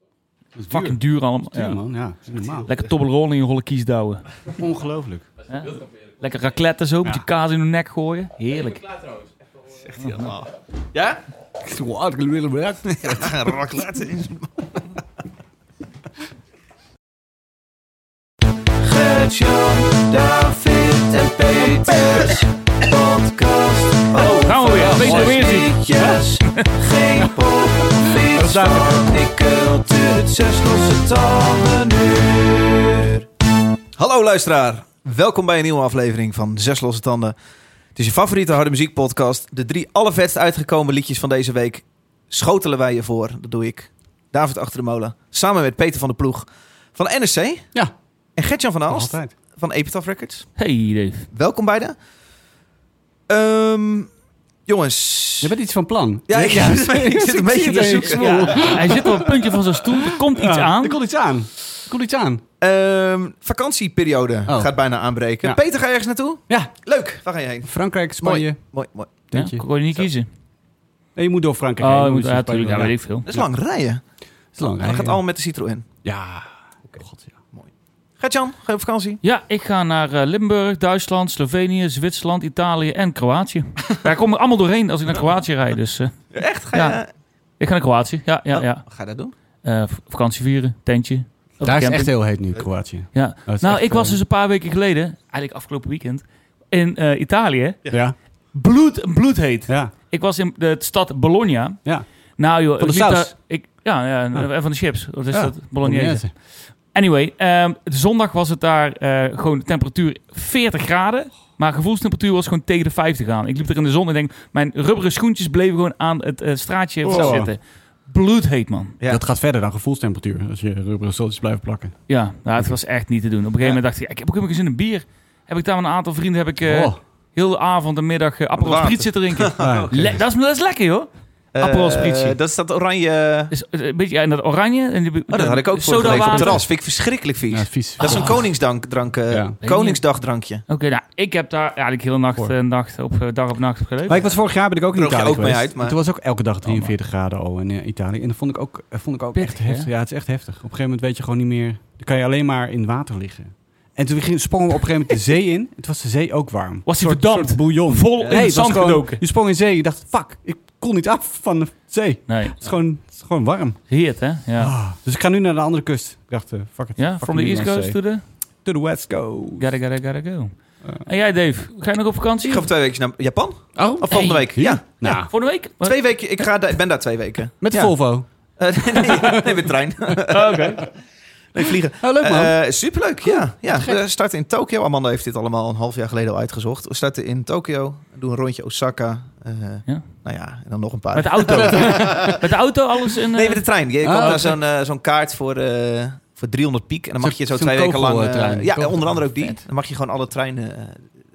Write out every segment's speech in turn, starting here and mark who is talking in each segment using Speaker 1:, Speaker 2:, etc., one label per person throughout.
Speaker 1: is duur.
Speaker 2: Fucking duur allemaal.
Speaker 1: Duur,
Speaker 2: Ja.
Speaker 1: man. Ja, dat is niet normaal.
Speaker 2: Lekker Toblerone in je holle kies douwen.
Speaker 1: Ongelooflijk.
Speaker 2: Lekker raclette zo, met je kaas in je nek gooien. Heerlijk.
Speaker 3: Zegt hij allemaal. Ja? Raclette in zijn
Speaker 4: David en Peters. Podcast over
Speaker 2: Gaan we weer. Weet je weer zien.
Speaker 4: liedjes. Geen pop, fiets,
Speaker 2: Dat is
Speaker 4: van die cultuur. Zes losse tanden uur.
Speaker 3: Hallo luisteraar, welkom bij een nieuwe aflevering van Zes Losse Tanden. Het is je favoriete harde muziekpodcast. De drie allervetst uitgekomen liedjes van deze week schotelen wij je voor. Dat doe ik, David Achter de Molen, samen met Peter van de Ploeg van NSC.
Speaker 1: Ja.
Speaker 3: En Gertjan van Aalst
Speaker 1: Altijd.
Speaker 3: van Epitaph Records.
Speaker 2: Hey Dave.
Speaker 3: Welkom beiden. Ehm, jongens.
Speaker 1: Je bent iets van plan.
Speaker 3: Ja, ik, ja, ik zit een beetje te
Speaker 1: Ik
Speaker 3: zoeken.
Speaker 1: zie het.
Speaker 2: Hij zit op het puntje van zijn stoel. Er komt iets
Speaker 1: Ja,
Speaker 2: aan.
Speaker 1: Er komt iets aan. Er komt iets aan.
Speaker 3: Ehm, vakantieperiode
Speaker 1: Oh.
Speaker 3: gaat bijna aanbreken.
Speaker 1: Ja.
Speaker 3: Peter, ga je ergens naartoe?
Speaker 1: Ja.
Speaker 3: Leuk, waar ga je heen?
Speaker 1: Frankrijk, Spanje.
Speaker 3: Mooi, mooi.
Speaker 2: Ja,
Speaker 1: Denk je.
Speaker 2: kon je niet kiezen.
Speaker 1: Nee, je moet door
Speaker 2: Oh,
Speaker 1: Frankrijk heen.
Speaker 2: ja,
Speaker 1: dan
Speaker 2: moet,
Speaker 1: je
Speaker 2: ja,
Speaker 1: Spanje
Speaker 2: natuurlijk. Ja,
Speaker 1: door.
Speaker 2: weet ik veel.
Speaker 3: Dat is lang rijden.
Speaker 1: Het is lang
Speaker 3: Dat gaat
Speaker 1: rijden.
Speaker 3: allemaal met de Citroën.
Speaker 1: Ja. God, ja.
Speaker 3: Gertjan, ga je op vakantie?
Speaker 2: Ja, ik ga naar eh, Limburg, Duitsland, Slovenië, Zwitserland, Italië en Kroatië. Daar kom ik allemaal doorheen als ik naar Kroatië rijd. Dus eh,
Speaker 3: Echt? Ga Oh.
Speaker 2: Ja. ik ga naar Kroatië. Ja, ja, ja.
Speaker 3: Ga je dat doen?
Speaker 2: Eh, v- vakantie vieren, tentje. op de
Speaker 1: Daar is het
Speaker 2: camping.
Speaker 1: echt heel heet nu, Kroatië.
Speaker 2: Ja.
Speaker 1: Dat is
Speaker 2: Nou,
Speaker 1: echt,
Speaker 2: ik was
Speaker 1: eh,
Speaker 2: dus een paar weken geleden, eigenlijk afgelopen weekend, in eh, Italië.
Speaker 1: Ja.
Speaker 2: Bloed, bloedheet.
Speaker 1: Ja.
Speaker 2: Ik was in de stad Bologna.
Speaker 1: Ja.
Speaker 2: Nou joh,
Speaker 1: Van de
Speaker 2: ik liep
Speaker 1: saus.
Speaker 2: daar- ik, ja, ja, en-
Speaker 1: Ah.
Speaker 2: en van de chips. Wat is
Speaker 1: Ja,
Speaker 2: dat? Bolognese. Anyway, ehm, de zondag was het daar eh, gewoon de temperatuur 40 graden. Maar gevoelstemperatuur was gewoon tegen de 50 aan. Ik liep er in de zon en denk, mijn rubberen schoentjes bleven gewoon aan het eh, straatje
Speaker 1: Oh.
Speaker 2: zitten. Bloedheet, man.
Speaker 3: Ja.
Speaker 1: Dat gaat verder dan gevoelstemperatuur. Als je rubberen stoeltjes blijft plakken.
Speaker 2: Ja, nou, het was echt niet te doen. Op een gegeven
Speaker 3: Ja.
Speaker 2: moment dacht ik, ik heb ook helemaal geen zin in bier. Heb ik daar met een aantal vrienden, heb ik eh,
Speaker 1: Oh.
Speaker 2: heel de avond en middag eh, Aperol
Speaker 3: Water.
Speaker 2: Spritz zitten drinken.
Speaker 3: Ah,
Speaker 1: Ja.
Speaker 2: Le- dat, is, dat is lekker, joh. Aperol
Speaker 3: Eh,
Speaker 2: Spritzie.
Speaker 3: dat is dat oranje...
Speaker 2: Dus, eh, een beetje, ja, en dat oranje. En die,
Speaker 3: Oh, dat had ik ook voor op het
Speaker 2: water.
Speaker 3: terras. Vind ik verschrikkelijk vies.
Speaker 1: Ja, vies.
Speaker 3: Dat is een
Speaker 1: Oh.
Speaker 3: koningsdrank, eh
Speaker 1: Ja.
Speaker 3: koningsdagdrankje.
Speaker 2: Oké, nou, ik heb daar eigenlijk heel nacht,
Speaker 1: Voor.
Speaker 2: eh, nacht op, eh, dag op nacht op geleefd.
Speaker 1: Maar ik was vorig jaar ben ik ook in
Speaker 3: Droog je
Speaker 1: Italië
Speaker 3: ook mee
Speaker 1: geweest.
Speaker 3: uit, maar- Oh,
Speaker 1: En Toen was ook elke dag 43 graden al in eh, Italië. En dat vond ik ook, eh, vond ik ook
Speaker 2: Pittig,
Speaker 1: echt heftig.
Speaker 2: hè?
Speaker 1: Ja, het is echt heftig. Op een gegeven moment weet je gewoon niet meer... Dan kan je alleen maar in water liggen. En toen ging, sprongen we op een gegeven moment de zee in. Het was de zee ook warm.
Speaker 2: Was die
Speaker 1: Een soort-
Speaker 2: verdampt?
Speaker 1: soort bouillon.
Speaker 2: Vol in
Speaker 1: Nee,
Speaker 2: het
Speaker 1: het was
Speaker 2: zand
Speaker 1: gewoon-
Speaker 2: gedoken.
Speaker 1: Je sprong in zee. Je dacht, fuck, ik kon niet af van de zee.
Speaker 2: Nee,
Speaker 1: Het is gewoon, het is gewoon warm.
Speaker 2: heet hè? Ja.
Speaker 1: Ah, Dus ik ga nu naar de andere kust. Ik dacht, eh, fuck it.
Speaker 2: Ja,
Speaker 1: Fuck
Speaker 2: from the
Speaker 1: it,
Speaker 2: east
Speaker 1: Middellandse
Speaker 2: coast to
Speaker 1: Zee.
Speaker 2: the...
Speaker 1: To the west coast.
Speaker 2: Gotta, gotta, gotta go. en jij, Dave? Ga je nog op vakantie?
Speaker 3: Eh. Ik ga over twee weken naar Japan.
Speaker 1: Oh,
Speaker 3: Of volgende week.
Speaker 1: hier?
Speaker 3: Ja.
Speaker 1: Nou,
Speaker 2: Volgende week? Wat?
Speaker 3: Twee weken. Ik ga daar- ik ben daar twee weken.
Speaker 1: met de
Speaker 3: Ja.
Speaker 1: Volvo.
Speaker 3: Eh, nee, nee, nee, met trein.
Speaker 2: Oh, Oké.
Speaker 3: Nee, vliegen.
Speaker 1: Oh, leuk man.
Speaker 3: Eh, superleuk, ja. ja. We starten in Tokio. Amanda heeft dit allemaal een half jaar geleden al uitgezocht. We starten in Tokio. Doen een rondje Osaka. eh,
Speaker 2: Ja.
Speaker 3: Nou ja, en dan nog een paar.
Speaker 2: Met de auto. met de auto, alles in... eh,
Speaker 3: Nee, met de trein. Je
Speaker 1: Ah,
Speaker 3: komt
Speaker 1: oké.
Speaker 3: daar zo'n eh, zo'n kaart voor, eh, voor 300 piek. En dan mag
Speaker 1: Zo'n-
Speaker 3: je zo
Speaker 1: zo'n
Speaker 3: twee weken lang... eh,
Speaker 1: kogeltrein.
Speaker 3: ja,
Speaker 1: Kogel-
Speaker 3: onder andere ook die.
Speaker 1: Vet.
Speaker 3: Dan mag je gewoon alle treinen eh,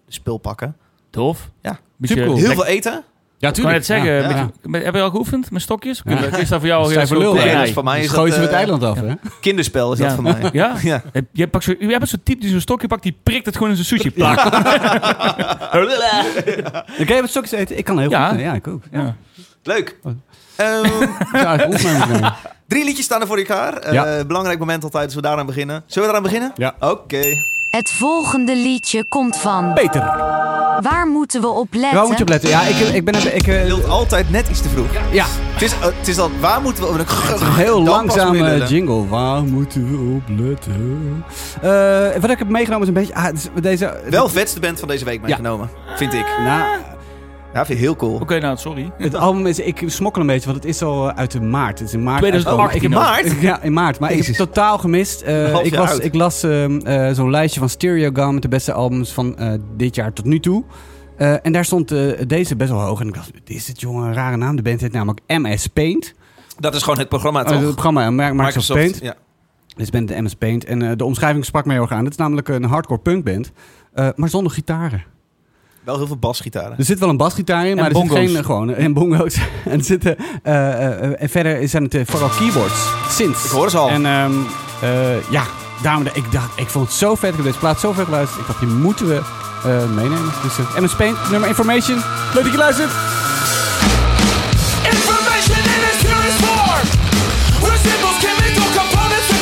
Speaker 3: spul pakken.
Speaker 2: Tof.
Speaker 3: Ja.
Speaker 2: Beetje,
Speaker 1: Supercool.
Speaker 3: Heel
Speaker 2: Heel
Speaker 3: veel eten.
Speaker 1: Ja,
Speaker 2: kan je het zeggen?
Speaker 1: Ja.
Speaker 2: Een beetje-
Speaker 1: Ja.
Speaker 2: met- heb je al geoefend met stokjes?
Speaker 1: Ja.
Speaker 2: Kunnen we- Is dat voor jou
Speaker 1: Dat
Speaker 2: al
Speaker 1: is voor lul,
Speaker 2: soort-
Speaker 1: hè?
Speaker 3: Nee,
Speaker 2: Nee,
Speaker 3: dat is voor mij is dat,
Speaker 1: Schoten we het
Speaker 3: eh,
Speaker 1: eiland af, hè?
Speaker 3: Kinderspel is
Speaker 2: Ja.
Speaker 3: dat voor mij.
Speaker 2: Ja?
Speaker 3: Ja.
Speaker 2: Je, pakt zo, je hebt zo'n type die zo'n stokje pakt, die prikt het gewoon in zijn sushi. Plak.
Speaker 1: Dan kan je wat stokjes eten. Ik kan heel
Speaker 2: Ja.
Speaker 1: goed. Ja, ik ook. Ja.
Speaker 2: Ja.
Speaker 3: Leuk.
Speaker 1: Oh.
Speaker 3: Ehm,
Speaker 1: Ik zou eigenlijk opnemen kunnen.
Speaker 3: drie liedjes staan er voor elkaar. Eh,
Speaker 1: Ja.
Speaker 3: Belangrijk moment altijd als we daaraan beginnen. Zullen we daaraan beginnen?
Speaker 1: Ja.
Speaker 3: Oké.
Speaker 5: Het volgende liedje komt van.
Speaker 1: Peter, waar
Speaker 5: Waar moeten we op letten?
Speaker 1: moet je op letten? Ja, ik, ik ben... Ik,
Speaker 3: Je
Speaker 1: eh,
Speaker 3: wilt altijd net iets te vroeg.
Speaker 1: ja,
Speaker 3: Het is, eh, het is al, waar moeten we...
Speaker 1: een heel
Speaker 3: Dan pas
Speaker 1: langzame
Speaker 3: weer lullen.
Speaker 1: jingle. Waar moeten we op letten? Eh, wat ik heb meegenomen is een beetje... Ah, het is- deze...
Speaker 3: Wel vetste band van deze week meegenomen, vind ik.
Speaker 1: Nou,
Speaker 3: Ja, vind ik heel cool.
Speaker 2: Oké, nou, sorry.
Speaker 1: het album is... Ik smokkel een beetje, want het is al eh, uit de maart. Het is in maart.
Speaker 2: 2018
Speaker 1: Ik heb-
Speaker 3: al. Maart?
Speaker 1: Ja, in maart. Maar ik
Speaker 3: Jezus.
Speaker 1: heb het totaal gemist. Eh,
Speaker 3: Een half
Speaker 1: ik,
Speaker 3: jaar
Speaker 1: was,
Speaker 3: oud.
Speaker 1: ik las ehm, eh, zo'n lijstje van Stereogum met de beste albums van eh, dit jaar tot nu toe. Eh, en daar stond eh, deze best wel hoog. En ik dacht, wat is dit jongen, een rare naam. De band heet namelijk MS Paint.
Speaker 3: Dat is gewoon het programma,
Speaker 1: Eh, het programma Microsoft, Microsoft Paint.
Speaker 3: Ja.
Speaker 1: Dit is band de MS Paint. En eh, de omschrijving sprak mij heel erg aan. Dit is namelijk een hardcore punkband. eh, maar zonder gitaren.
Speaker 3: Wel heel veel basgitaren.
Speaker 1: Er zit wel een basgitaar in, maar er zit
Speaker 2: bongo's.
Speaker 1: geen eh, gewoon en bongo's. en, er zitten, eh, eh, en verder zijn het eh, vooral keyboards, synths.
Speaker 3: Ik hoor ze al.
Speaker 1: En ehm, eh, ja, daarom ik dacht, ik vond het zo vet. Ik heb deze plaat zo ver geluisterd. Ik dacht, die moeten we eh, meenemen. Dus eh, MS Paint, nummer Information. Leuk dat je luistert.
Speaker 6: Information in its purest form. Where symbols, chemical components.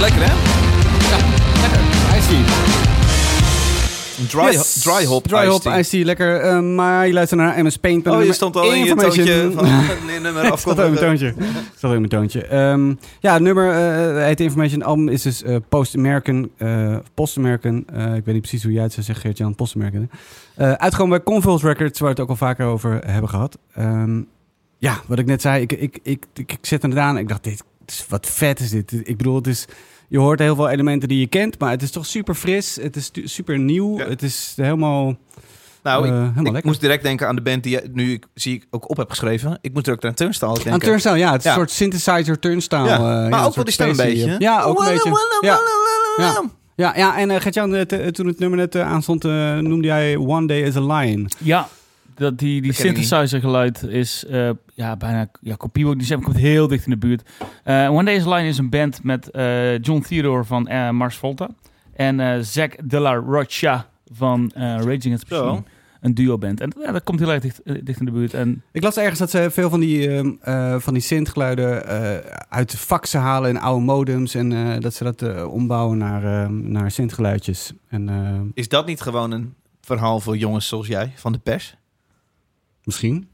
Speaker 3: lekker hè?
Speaker 1: Ice Tea.
Speaker 3: Een Dry,
Speaker 1: Yes.
Speaker 3: dry hop.
Speaker 1: Dus Dry hop,
Speaker 3: iced
Speaker 1: Ice Tea, lekker. Eh, maar je luistert naar MS Paint.
Speaker 3: tea. Oh, je stond al in je toontje van nee, nummer
Speaker 1: Ik zat ook in mijn
Speaker 3: afkondigen.
Speaker 1: toontje. Ik zat ook in mijn toontje. Ehm, ja, het nummer eh heet Information. Het album is dus eh, Post-American. eh, Post-American. eh, ik weet niet precies hoe jij het zou zeggen, Geert-Jan. Post-American. hè? Eh uitgekomen bij Convuls Records, waar we het ook al vaker over hebben gehad. Ehm, ja, wat ik net zei. Ik, ik, ik, ik, ik zette het aan. Ik dacht, dit is, wat vet is dit. Ik bedoel, het is... Je hoort heel veel elementen die je kent, maar het is toch super fris. Het is tu- super nieuw.
Speaker 3: Ja.
Speaker 1: Het is helemaal,
Speaker 3: Nou,
Speaker 1: eh,
Speaker 3: ik,
Speaker 1: helemaal
Speaker 3: ik
Speaker 1: lekker.
Speaker 3: moest direct denken aan de band die jij- nu ik, zie ik ook op heb geschreven. Ik moest er ook aan Turnstile denken.
Speaker 1: Aan turnstile, ja. Het is
Speaker 3: Ja.
Speaker 1: een soort synthesizer turnstile.
Speaker 3: Ja,
Speaker 1: eh,
Speaker 3: maar
Speaker 1: ja,
Speaker 3: ook
Speaker 1: een
Speaker 3: wel
Speaker 1: soort
Speaker 3: die stem een
Speaker 1: spacey,
Speaker 3: beetje,
Speaker 1: eh.
Speaker 3: hè?
Speaker 1: Ja, ook een
Speaker 3: Walla,
Speaker 1: beetje.
Speaker 3: walla,
Speaker 1: Ja,
Speaker 3: walla, walla.
Speaker 1: ja, ja en eh, Gert-Jan, eh, te- eh, toen het nummer net eh, aanstond, eh, noemde jij One Day is a Lion.
Speaker 2: Ja, dat die, die
Speaker 3: Dat ken ik niet.
Speaker 2: synthesizer geluid is eh, ja, bijna ja, kopie. Die zijn komt heel dicht in de buurt. Eh, One Day's Line is een band met eh, John Theodore van eh, Mars Volta. En eh Zack de la Rocha van eh, Raging Against the
Speaker 3: Zo.
Speaker 2: Machine. Een duo band. En ja, dat komt heel erg dicht, eh, dicht in de buurt. En
Speaker 1: Ik las ergens dat ze veel van die, ehm eh van die synthgeluiden eh, uit faxen halen en oude modems. En eh, dat ze dat eh, ombouwen naar, ehm, naar synthgeluidjes. En eh,
Speaker 3: Is dat niet gewoon een verhaal voor jongens zoals jij van de pers?
Speaker 1: misschien.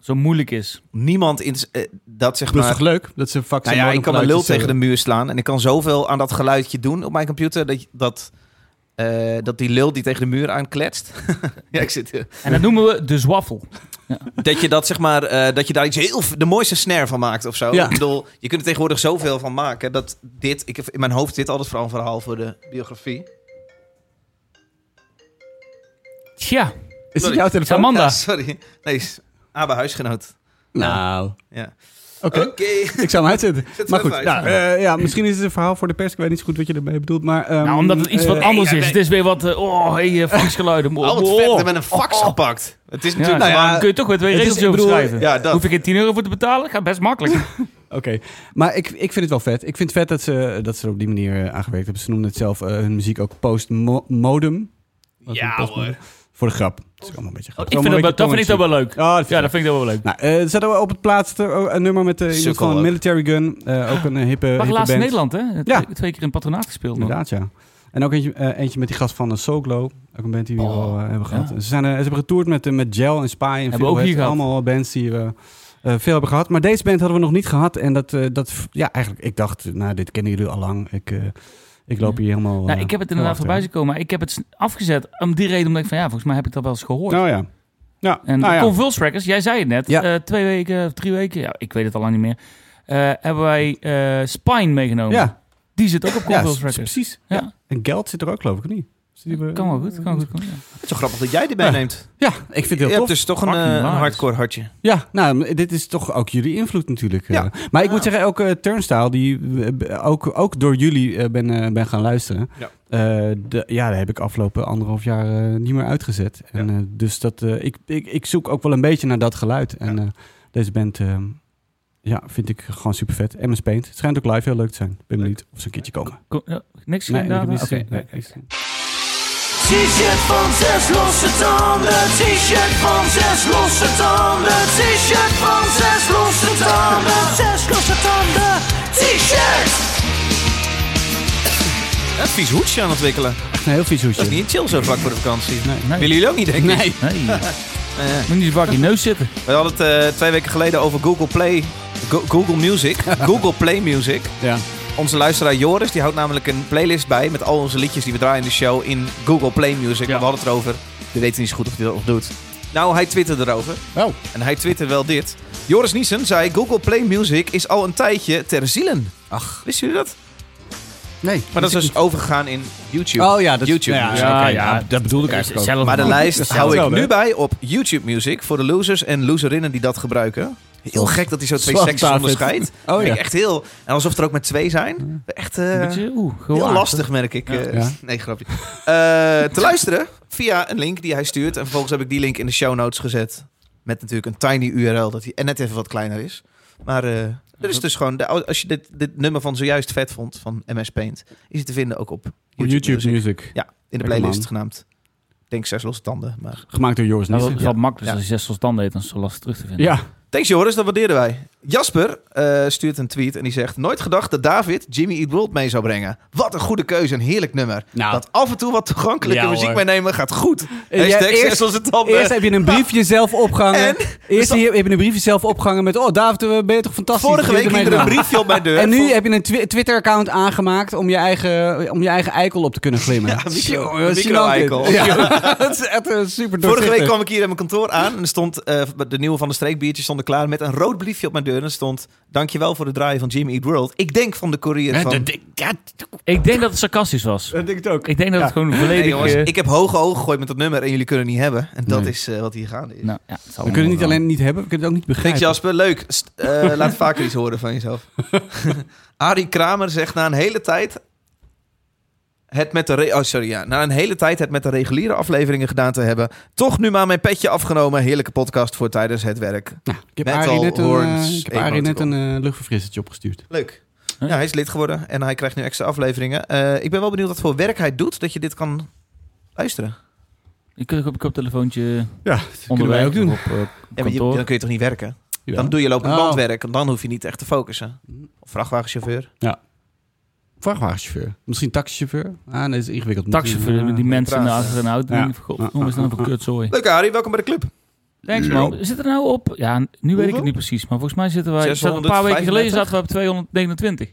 Speaker 2: zo moeilijk is.
Speaker 3: Niemand in eh, dat zeg
Speaker 1: Plus
Speaker 3: maar.
Speaker 1: toch leuk dat ze faxen eh,
Speaker 3: Nou ja, ik kan mijn
Speaker 1: een
Speaker 3: lul tegen de muur slaan en ik kan zoveel aan dat geluidje doen op mijn computer dat dat, eh, dat die lul die tegen de muur aankletst. ja, ik zit.
Speaker 2: En dat noemen we de zwaffel.
Speaker 3: dat je dat zeg maar eh, dat je daar iets heel de mooiste snare van maakt of zo.
Speaker 1: Ja.
Speaker 3: Ik bedoel, je kunt er tegenwoordig zoveel van maken dat dit ik heb in mijn hoofd dit altijd vooral een verhaal voor de biografie.
Speaker 2: Tja,
Speaker 1: Is het
Speaker 3: Sorry.
Speaker 1: jouw telefoon?
Speaker 2: Amanda.
Speaker 3: Ja, sorry. Nee, is Abe huisgenoot.
Speaker 1: Nou,
Speaker 3: Ja.
Speaker 1: oké.
Speaker 3: Oké.
Speaker 1: Ik zou hem uitzetten.
Speaker 3: Zet
Speaker 1: Maar
Speaker 3: hem
Speaker 1: goed,
Speaker 3: uit.
Speaker 1: ja, eh, ja, misschien is het een verhaal voor de pers. Ik weet niet zo goed wat je ermee bedoelt. Maar, ehm,
Speaker 2: nou, omdat het iets
Speaker 1: eh,
Speaker 2: wat anders
Speaker 3: ja,
Speaker 2: is.
Speaker 3: nee.
Speaker 2: Het is weer wat, eh, oh, hey, eh, faxgeluiden.
Speaker 3: Al wat
Speaker 2: Oh,
Speaker 3: vet, we
Speaker 2: oh.
Speaker 3: hebben een fax
Speaker 2: Oh, oh.
Speaker 3: gepakt. Het is
Speaker 2: Ja,
Speaker 3: natuurlijk
Speaker 1: nou ja,
Speaker 2: dan kun je toch weer twee
Speaker 1: het is-
Speaker 2: regels
Speaker 1: ik
Speaker 2: over
Speaker 1: bedoel,
Speaker 2: schrijven.
Speaker 3: ja, dat.
Speaker 2: Hoef ik er 10 euro voor te betalen? Gaat best makkelijk.
Speaker 1: Oké, maar ik, ik vind het wel vet. Ik vind het vet dat ze, dat ze er op die manier eh, aangewerkt hebben. Ze noemden het zelf eh, hun muziek ook post-modem. Wat
Speaker 3: Ja,
Speaker 1: een postmodem?
Speaker 3: hoor.
Speaker 1: Voor de grap. Dat is ook allemaal een beetje grappig.
Speaker 2: Ik vind dat, wel- dat vind ik dat
Speaker 1: Allemaal een
Speaker 2: wel leuk.
Speaker 1: beetje tongue-in-cheek. Ah, dat vind
Speaker 2: Ja,
Speaker 1: ik
Speaker 2: dat vind ik dat wel leuk.
Speaker 1: Nou, eh, zetten we op het plaatste eh, een nummer met eh, iemand
Speaker 3: Sukkel
Speaker 1: van
Speaker 3: ook.
Speaker 1: Military Gun. eh, ook een eh, hippe,
Speaker 2: Maar laatst
Speaker 1: hippe band.
Speaker 2: in Nederland, hè?
Speaker 1: Ja.
Speaker 2: Twee, twee keer in patronaat gespeeld. nog.
Speaker 1: Inderdaad, ja. En ook eentje, eh, eentje met die gast van uh, Soulglow. Ook een band die we hier
Speaker 2: Oh,
Speaker 1: al eh, hebben
Speaker 2: ja.
Speaker 1: gehad. Ze, zijn, eh, ze hebben getoerd met, eh, met Gel en Spy. En
Speaker 2: we
Speaker 1: veel
Speaker 2: ook hier
Speaker 1: hits.
Speaker 2: gehad.
Speaker 1: Allemaal bands die we eh, veel hebben gehad. Maar deze band hadden we nog niet gehad. En dat, eh, dat ja, eigenlijk, ik dacht, nou, dit kennen jullie al lang. Ik, eh, ik loop hier helemaal...
Speaker 2: Nou,
Speaker 1: eh,
Speaker 2: ik heb het
Speaker 1: helemaal
Speaker 2: inderdaad
Speaker 1: achter.
Speaker 2: voorbij zien komen, maar ik heb het s- afgezet om die reden omdat ik van ja, volgens mij heb ik dat wel eens gehoord.
Speaker 1: Nou ja. Ja,
Speaker 2: en
Speaker 1: nou ja.
Speaker 2: Convulse Records, jij zei het net,
Speaker 1: Ja.
Speaker 2: eh, twee weken of drie weken, ja, ik weet het al lang niet meer, eh, hebben wij eh, Spine meegenomen.
Speaker 1: ja.
Speaker 2: Die zit ook op
Speaker 1: Ja,
Speaker 2: Convulse
Speaker 1: s-
Speaker 2: Records.
Speaker 1: precies.
Speaker 2: Ja.
Speaker 1: Ja. En Geld zit er ook, geloof ik, of niet? Zit die-
Speaker 2: Kan wel goed, kan wel goed. Kan, ja.
Speaker 3: Het is zo grappig dat jij erbij
Speaker 1: Ja.
Speaker 3: neemt.
Speaker 1: Ja, ik vind
Speaker 3: Je
Speaker 1: het heel
Speaker 3: hebt
Speaker 1: tof.
Speaker 3: dus toch een,
Speaker 2: Fucking
Speaker 3: eh, een
Speaker 2: nice.
Speaker 3: hardcore hartje.
Speaker 1: Ja, nou, dit is toch ook jullie invloed natuurlijk.
Speaker 3: Ja.
Speaker 1: Eh, Maar ik moet zeggen, ook eh, Turnstile, die eh, b- ook, ook door jullie eh, ben, eh, ben gaan luisteren.
Speaker 3: Ja.
Speaker 1: Eh, de, ja, daar heb ik afgelopen anderhalf jaar eh, niet meer uitgezet. En, eh, dus dat, eh, ik, ik, ik zoek ook wel een beetje naar dat geluid. En eh, deze band eh, ja, vind ik gewoon super vet. MS Paint. Het schijnt ook live heel leuk te zijn. Ik ben benieuwd of ze een keertje komen.
Speaker 2: Kom- ja, niks nee,
Speaker 1: Nee, ik
Speaker 2: gedaan.
Speaker 1: heb niet
Speaker 2: Oké.
Speaker 1: gezien. Nee, niks gezien.
Speaker 4: T-shirt van zes losse tanden, t-shirt van zes losse tanden, t-shirt van zes losse tanden, zes losse tanden, t-shirt!
Speaker 3: Een vies hoedje aan ontwikkelen.
Speaker 1: Echt een heel vies hoedje.
Speaker 3: Dat is niet chill zo vlak voor de vakantie.
Speaker 2: Nee.
Speaker 3: Willen jullie ook niet, denk ik?
Speaker 1: Nee.
Speaker 2: Nee.
Speaker 3: Eh,
Speaker 2: Moet niet zo vaak in je neus zitten.
Speaker 3: we hadden het eh, twee weken geleden over Google Play. Go- Google Music. Google Play Music.
Speaker 1: Ja.
Speaker 3: Onze luisteraar Joris die houdt namelijk een playlist bij met al onze liedjes die we draaien in de show in Google Play Music. Maar we hadden het erover. We weten niet zo goed of hij dat nog doet. Nou, hij twitterde erover.
Speaker 1: Oh.
Speaker 3: En hij twitterde wel dit. Joris Niesen zei: Google Play Music is al een tijdje ter zielen. Ach. Wisten jullie dat?
Speaker 1: Nee.
Speaker 3: Maar dat is dus overgegaan in YouTube.
Speaker 1: Oh ja, dat,
Speaker 3: YouTube.
Speaker 1: Ja,
Speaker 2: Ja,
Speaker 1: oké,
Speaker 2: ja.
Speaker 1: nou, Oh, dat bedoelde ik eigenlijk ook.
Speaker 2: Zelf
Speaker 3: Maar de
Speaker 2: man.
Speaker 3: lijst hou ik
Speaker 1: hetzelfde,
Speaker 3: nu
Speaker 1: hè?
Speaker 3: bij op YouTube Music voor de losers en loserinnen die dat gebruiken. Heel gek dat hij zo twee
Speaker 1: Zwart
Speaker 3: secties
Speaker 1: David.
Speaker 3: onderscheidt.
Speaker 1: Oh
Speaker 3: Vind
Speaker 1: ja.
Speaker 3: ik echt heel. En alsof er ook met twee zijn. Echt eh,
Speaker 2: Een beetje, oeh,
Speaker 3: heel
Speaker 2: gewaagd,
Speaker 3: lastig, merk ik. eh.
Speaker 1: Ja.
Speaker 3: Nee, grapje. Eh, te luisteren via een link die hij stuurt. En vervolgens heb ik die link in de show notes gezet. Met natuurlijk een tiny URL dat hij en net even wat kleiner is. Maar eh er is dus gewoon. de- als je dit, dit nummer van zojuist vet vond van MS Paint, is het te vinden ook op
Speaker 1: Op
Speaker 3: YouTube,
Speaker 1: YouTube
Speaker 3: Music.
Speaker 1: Music.
Speaker 3: Ja, in de
Speaker 1: Lekker
Speaker 3: playlist
Speaker 1: man.
Speaker 3: genaamd. Ik Denk zes losse tanden, maar
Speaker 1: Gemaakt door Joris
Speaker 2: hè. Nou,
Speaker 1: Nissen.
Speaker 2: dat is wel makkelijk. Dus
Speaker 3: Ja.
Speaker 2: als je zes losse tanden heet, dan is het zo lastig terug te vinden.
Speaker 1: Ja,
Speaker 3: Thanks Joris, dat waarderen wij. Jasper eh, stuurt een tweet en die zegt... Nooit gedacht dat David Jimmy Eat World mee zou brengen. Wat een goede keuze, een heerlijk nummer.
Speaker 1: Nou.
Speaker 3: Dat af en toe wat toegankelijke
Speaker 2: Ja,
Speaker 3: muziek
Speaker 2: hoor.
Speaker 3: meenemen gaat goed.
Speaker 1: Eh, ja,
Speaker 3: Hashtag
Speaker 1: eerst-
Speaker 3: zes losse tanden.
Speaker 1: Eerst heb je een briefje zelf opgehangen.
Speaker 3: En? Dus
Speaker 1: Eerst heb je heb je een briefje zelf opgehangen met... Oh, David, eh, ben je toch fantastisch?
Speaker 3: Vorige
Speaker 1: Je hebt
Speaker 3: week ging er
Speaker 1: ermee
Speaker 3: een briefje op mijn deur.
Speaker 1: gedaan. En nu
Speaker 3: Van-
Speaker 1: heb je een twi- Twitter-account aangemaakt om je, eigen, om je eigen eikel op te kunnen glimmen.
Speaker 3: micro-
Speaker 1: Tjonge, wat
Speaker 3: micro-eikel.
Speaker 1: gênant dit. Ja, dat is echt eh, super
Speaker 3: Vorige week
Speaker 1: doorzichtig.
Speaker 3: kwam ik hier in mijn kantoor aan en er stond, eh, de nieuwe van de streekbiertjes stonden klaar met een rood briefje op mijn deur. En er stond, dankjewel voor de draai van Jimmy Eat World. Ik denk van de courier van...
Speaker 2: Ik denk dat het sarcastisch was.
Speaker 1: Dat denk ik ook.
Speaker 2: Ik denk dat het gewoon volledig...
Speaker 3: Nee, jongens,
Speaker 2: eh,
Speaker 3: ik heb hoge ogen gegooid met dat nummer en jullie kunnen het niet hebben. En dat
Speaker 1: Nee.
Speaker 3: is eh, wat hier gaande is.
Speaker 2: nou, ja, het zal
Speaker 1: We kunnen het niet
Speaker 2: allemaal
Speaker 1: alleen niet hebben, we kunnen het ook niet
Speaker 3: Thanks
Speaker 1: begrijpen.
Speaker 3: Jasper, leuk. St- eh, laat vaker iets horen van jezelf. Arie Kramer zegt na een hele tijd... Het met de re- oh, sorry, ja. Na een hele tijd het met de reguliere afleveringen gedaan te hebben. Toch nu maar mijn petje afgenomen. Heerlijke podcast voor tijdens het werk.
Speaker 1: Nou, ik heb
Speaker 3: Metal
Speaker 1: Arie net een, eh,
Speaker 3: horns,
Speaker 1: ik heb Arie net een
Speaker 3: emoticon.
Speaker 1: eh, luchtverfrissertje opgestuurd.
Speaker 3: Leuk.
Speaker 2: Huh?
Speaker 3: Ja, hij is lid geworden en hij krijgt nu extra afleveringen. Eh, ik ben wel benieuwd wat voor werk hij doet, dat je dit kan luisteren.
Speaker 2: wel. Ik kan ook op je koptelefoontje
Speaker 1: Ja, dat kunnen wij
Speaker 2: onderweg
Speaker 1: ook doen.
Speaker 2: of op, eh,
Speaker 3: Ja, maar je-
Speaker 2: kantoor.
Speaker 3: dan kun je toch niet werken?
Speaker 1: Jawel.
Speaker 3: Dan doe je lopend
Speaker 1: Oh.
Speaker 3: bandwerk en dan hoef je niet echt te focussen.
Speaker 2: Mm.
Speaker 3: Of vrachtwagenchauffeur.
Speaker 1: Vrachtwagenchauffeur. Misschien taxichauffeur. Ah, nee, dat is ingewikkeld. eh,
Speaker 2: Taxichauffeur, die
Speaker 3: eh,
Speaker 2: mensen
Speaker 3: praat.
Speaker 2: achter een auto.
Speaker 1: Ja.
Speaker 2: Ja. God, hoe is dat nou voor kutzooi?
Speaker 3: Leuk Arie, welkom bij de club.
Speaker 2: Thanks man. Zit er nou op? Ja, nu weet ik het niet precies, maar volgens mij zitten wij... zat een paar weken geleden
Speaker 3: 635?
Speaker 2: zaten we op 229.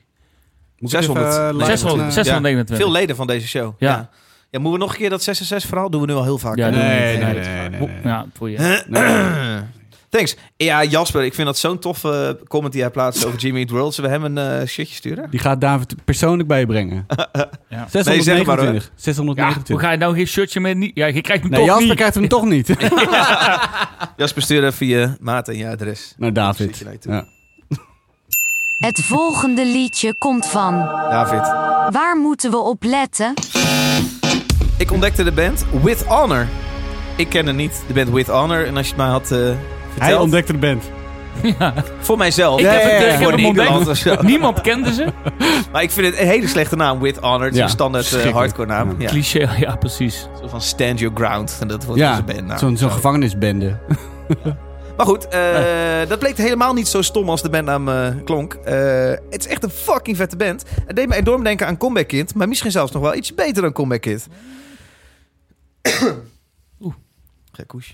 Speaker 3: 600.
Speaker 2: eh,
Speaker 3: Nee,
Speaker 2: 600,
Speaker 3: zes-
Speaker 2: 629.
Speaker 3: Veel leden van deze show.
Speaker 2: Ja.
Speaker 3: ja. Ja, moeten we nog een keer dat 666 verhaal? Doen we nu al heel vaak.
Speaker 2: Ja,
Speaker 3: hè?
Speaker 2: doen we
Speaker 1: Nee,
Speaker 2: niet.
Speaker 1: nee, nee, nee, nee, nee.
Speaker 2: Ja, voor je.
Speaker 3: Thanks. Ja, Jasper, ik vind dat zo'n toffe comment die hij plaatst over Jimmy Eat World. Zullen we hem een eh, shirtje sturen?
Speaker 1: Die gaat David persoonlijk bij je brengen.
Speaker 2: Ja.
Speaker 1: 629.
Speaker 3: Nee, zeg maar, hoor.
Speaker 2: Ja, hoe
Speaker 1: 629.
Speaker 2: ga je nou geen shirtje meer... niet- Ja, je krijgt hem
Speaker 1: nee,
Speaker 2: toch
Speaker 1: Jasper
Speaker 2: niet.
Speaker 1: krijgt hem toch niet.
Speaker 3: Jasper, stuur even je maat en je adres.
Speaker 1: Naar
Speaker 3: Zit
Speaker 1: David.
Speaker 3: je naar je toe.
Speaker 1: Ja.
Speaker 5: Het volgende liedje komt van.
Speaker 3: David.
Speaker 5: Waar moeten we op letten?
Speaker 3: Ik ontdekte de band With Honor. Ik ken het niet, de band With Honor. En als je het mij had eh, verteld...
Speaker 1: Hij ontdekt de band.
Speaker 3: Voor mijzelf.
Speaker 2: Ik heb het- eh, ik heb
Speaker 3: voor
Speaker 2: hem
Speaker 3: Nederland
Speaker 2: ontdekt.
Speaker 3: of zo.
Speaker 2: Niemand kende ze.
Speaker 3: Maar ik vind het een hele slechte naam, With Honor. Het is
Speaker 1: Ja,
Speaker 3: een standaard eh,
Speaker 1: verschrikkelijk.
Speaker 3: hardcore naam. Ja.
Speaker 2: Cliché, ja, precies.
Speaker 3: Zo van Stand Your Ground. En dat wordt dus
Speaker 1: Ja,
Speaker 3: een bandnaam.
Speaker 1: zo'n zo'n gevangenisbende.
Speaker 3: Maar goed, eh, dat bleek helemaal niet zo stom als de bandnaam eh, klonk. Eh, het is echt een fucking vette band. Het deed me enorm denken aan Comeback Kid. Maar misschien zelfs nog wel iets beter dan Comeback Kid.
Speaker 2: Oeh.
Speaker 3: Gek koesje.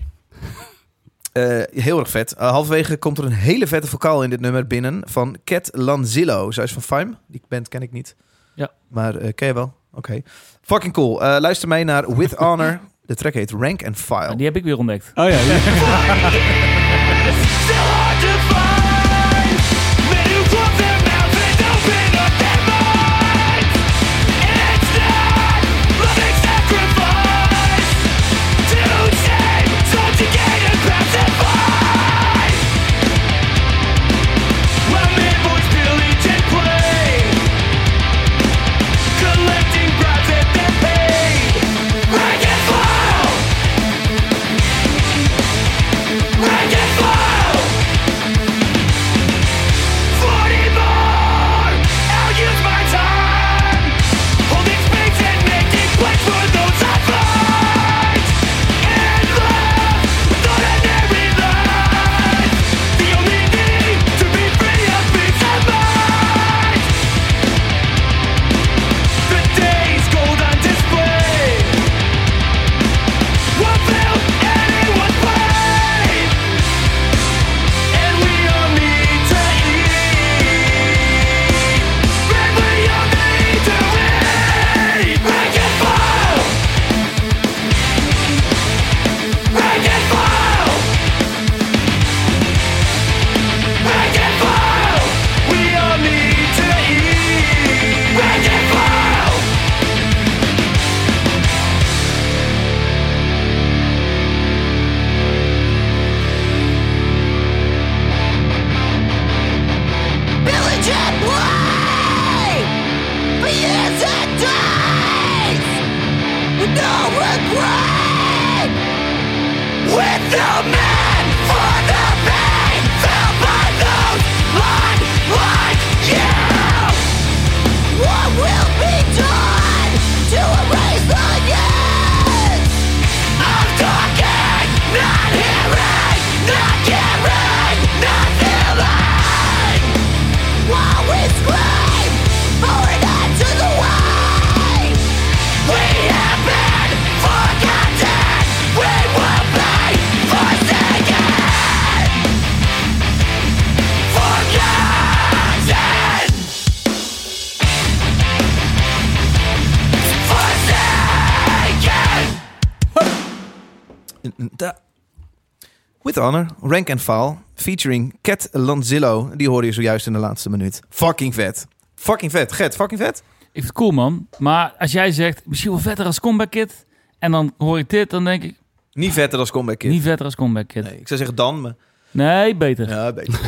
Speaker 3: Eh, heel erg vet. Eh, halverwege komt er een hele vette vocaal in dit nummer binnen van Cat Lanzillo. Zij is van Fime. Die band ken ik niet.
Speaker 2: Ja.
Speaker 3: Maar eh, ken je wel? Oké. Fucking cool. Eh, luister mee naar With Honor. De track heet Rank and File.
Speaker 2: Ja, die heb ik weer ontdekt.
Speaker 1: Oh ja, ja.
Speaker 4: Still hard to find. Men who close their mouths and open up their minds. It's not loving sacrifice to save, sold to gain and pacify. While men voice pillage and play, collecting bribes that they're paid. Rank and file. Rank and file.
Speaker 3: With Honor, Rank and File, featuring Cat Lanzillo. Die hoorde je zojuist in de laatste minuut. Fucking vet. Fucking vet. Get, fucking vet.
Speaker 2: Ik vind het cool, man. Maar als jij zegt, misschien wel vetter als Comeback Kid. En dan hoor ik dit, dan denk ik,
Speaker 3: Niet vetter als Comeback Kid.
Speaker 2: niet vetter als Comeback Kid. Nee,
Speaker 3: Nee, ik zou zeggen dan, maar...
Speaker 2: beter.
Speaker 3: Ja, beter.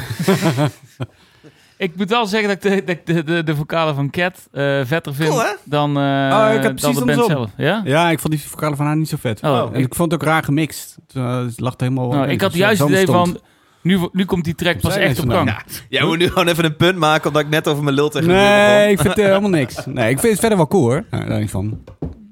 Speaker 2: Ik moet wel zeggen dat ik de, dat ik de, de, de vocalen van Cat eh, vetter vind
Speaker 3: Cool, hè?
Speaker 2: dan, eh,
Speaker 1: Oh, ik heb
Speaker 2: dan
Speaker 1: precies
Speaker 2: de band
Speaker 1: andersom.
Speaker 2: zelf. Ja? Nou,
Speaker 1: Ja, ik vond die vocalen van haar niet zo vet.
Speaker 2: Oh,
Speaker 3: Oh,
Speaker 1: En ik vond het ook raar gemixt. Het, eh, het lag er helemaal... Dus,
Speaker 2: nou, ik had juist het idee van, nu, nu komt die track pas
Speaker 1: eh, zijn
Speaker 2: echt
Speaker 1: ze
Speaker 2: op
Speaker 1: nou?
Speaker 2: gang.
Speaker 3: Jij moet nu gewoon even een punt maken, omdat ik net over mijn lul tegen je
Speaker 1: Nee,
Speaker 3: begon.
Speaker 1: ik vind eh, helemaal niks. Nee, ik vind het verder wel cool hoor. Nou, daar niet van.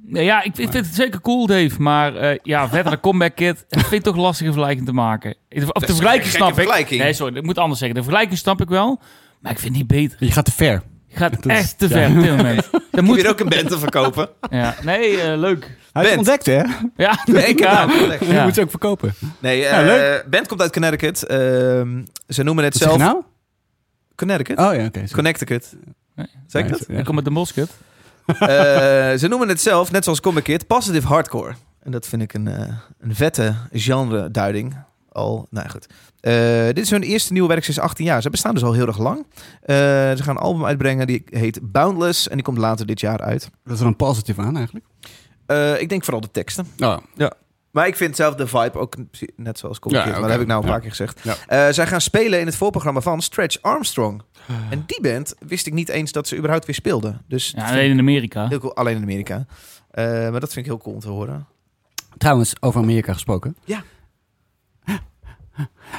Speaker 2: Nee, Ja, ik vind, vind het zeker cool, Dave. Maar eh, ja, verder de comeback kid. Ik vind het toch lastig een vergelijking te maken. Of de
Speaker 3: is
Speaker 2: vergelijking
Speaker 3: geen
Speaker 2: snap ik.
Speaker 3: gekke vergelijking.
Speaker 2: Nee, sorry, ik moet anders zeggen. De vergelijking snap ik wel. Maar ik vind het niet beter.
Speaker 1: Je gaat te ver.
Speaker 2: Je gaat
Speaker 1: is-
Speaker 2: echt te
Speaker 1: ja.
Speaker 2: ver op dit moment. Dan
Speaker 3: Moet
Speaker 2: moet
Speaker 3: je ook een band te verkopen?
Speaker 2: Ja, nee, eh, leuk.
Speaker 1: Hij is
Speaker 3: Bent.
Speaker 1: ontdekt hè?
Speaker 2: Ja,
Speaker 3: Nee, ik heb
Speaker 2: ja.
Speaker 3: het aangelegd.
Speaker 1: Je
Speaker 2: Ja.
Speaker 1: moet ze ook verkopen.
Speaker 3: Nee, eh,
Speaker 1: Ja, leuk.
Speaker 3: band komt uit Connecticut. Ehm, ze noemen het
Speaker 1: Wat zeg je
Speaker 3: zelf...
Speaker 1: nou?
Speaker 3: Connecticut?
Speaker 1: Oh ja, oké. sorry.
Speaker 3: Connecticut.
Speaker 2: Nee.
Speaker 3: Zeg ik
Speaker 1: Nee,
Speaker 3: dat?
Speaker 1: sorry.
Speaker 2: Ik kom met de Mosket.
Speaker 3: Eh, ze noemen het zelf, net zoals Comic Kid, positive hardcore. En dat vind ik een, eh, een vette genre-duiding. Al, nou ja, goed. Eh, dit is hun eerste nieuwe werk sinds 18 jaar. Ze bestaan dus al heel erg lang. Eh, ze gaan een album uitbrengen, die heet Boundless. En die komt later dit jaar uit.
Speaker 1: Dat is er een positief aan eigenlijk.
Speaker 3: Eh, ik denk vooral de teksten.
Speaker 1: Oh,
Speaker 3: Maar ik vind zelf de vibe ook net zoals Comic
Speaker 1: Ja,
Speaker 3: Kid. Maar
Speaker 1: oké.
Speaker 3: dat heb ik nou al een
Speaker 1: Ja.
Speaker 3: paar keer gezegd.
Speaker 1: Ja.
Speaker 3: Eh, zij gaan spelen in het voorprogramma van Stretch Armstrong.
Speaker 1: Ah.
Speaker 3: En die band wist ik niet eens dat ze überhaupt weer speelden. Dus dat
Speaker 2: Ja,
Speaker 3: vind ik
Speaker 2: alleen in Amerika.
Speaker 3: Heel cool, alleen in Amerika. Eh, maar dat vind ik heel cool om te horen.
Speaker 1: Trouwens, over Amerika gesproken.
Speaker 3: Ja.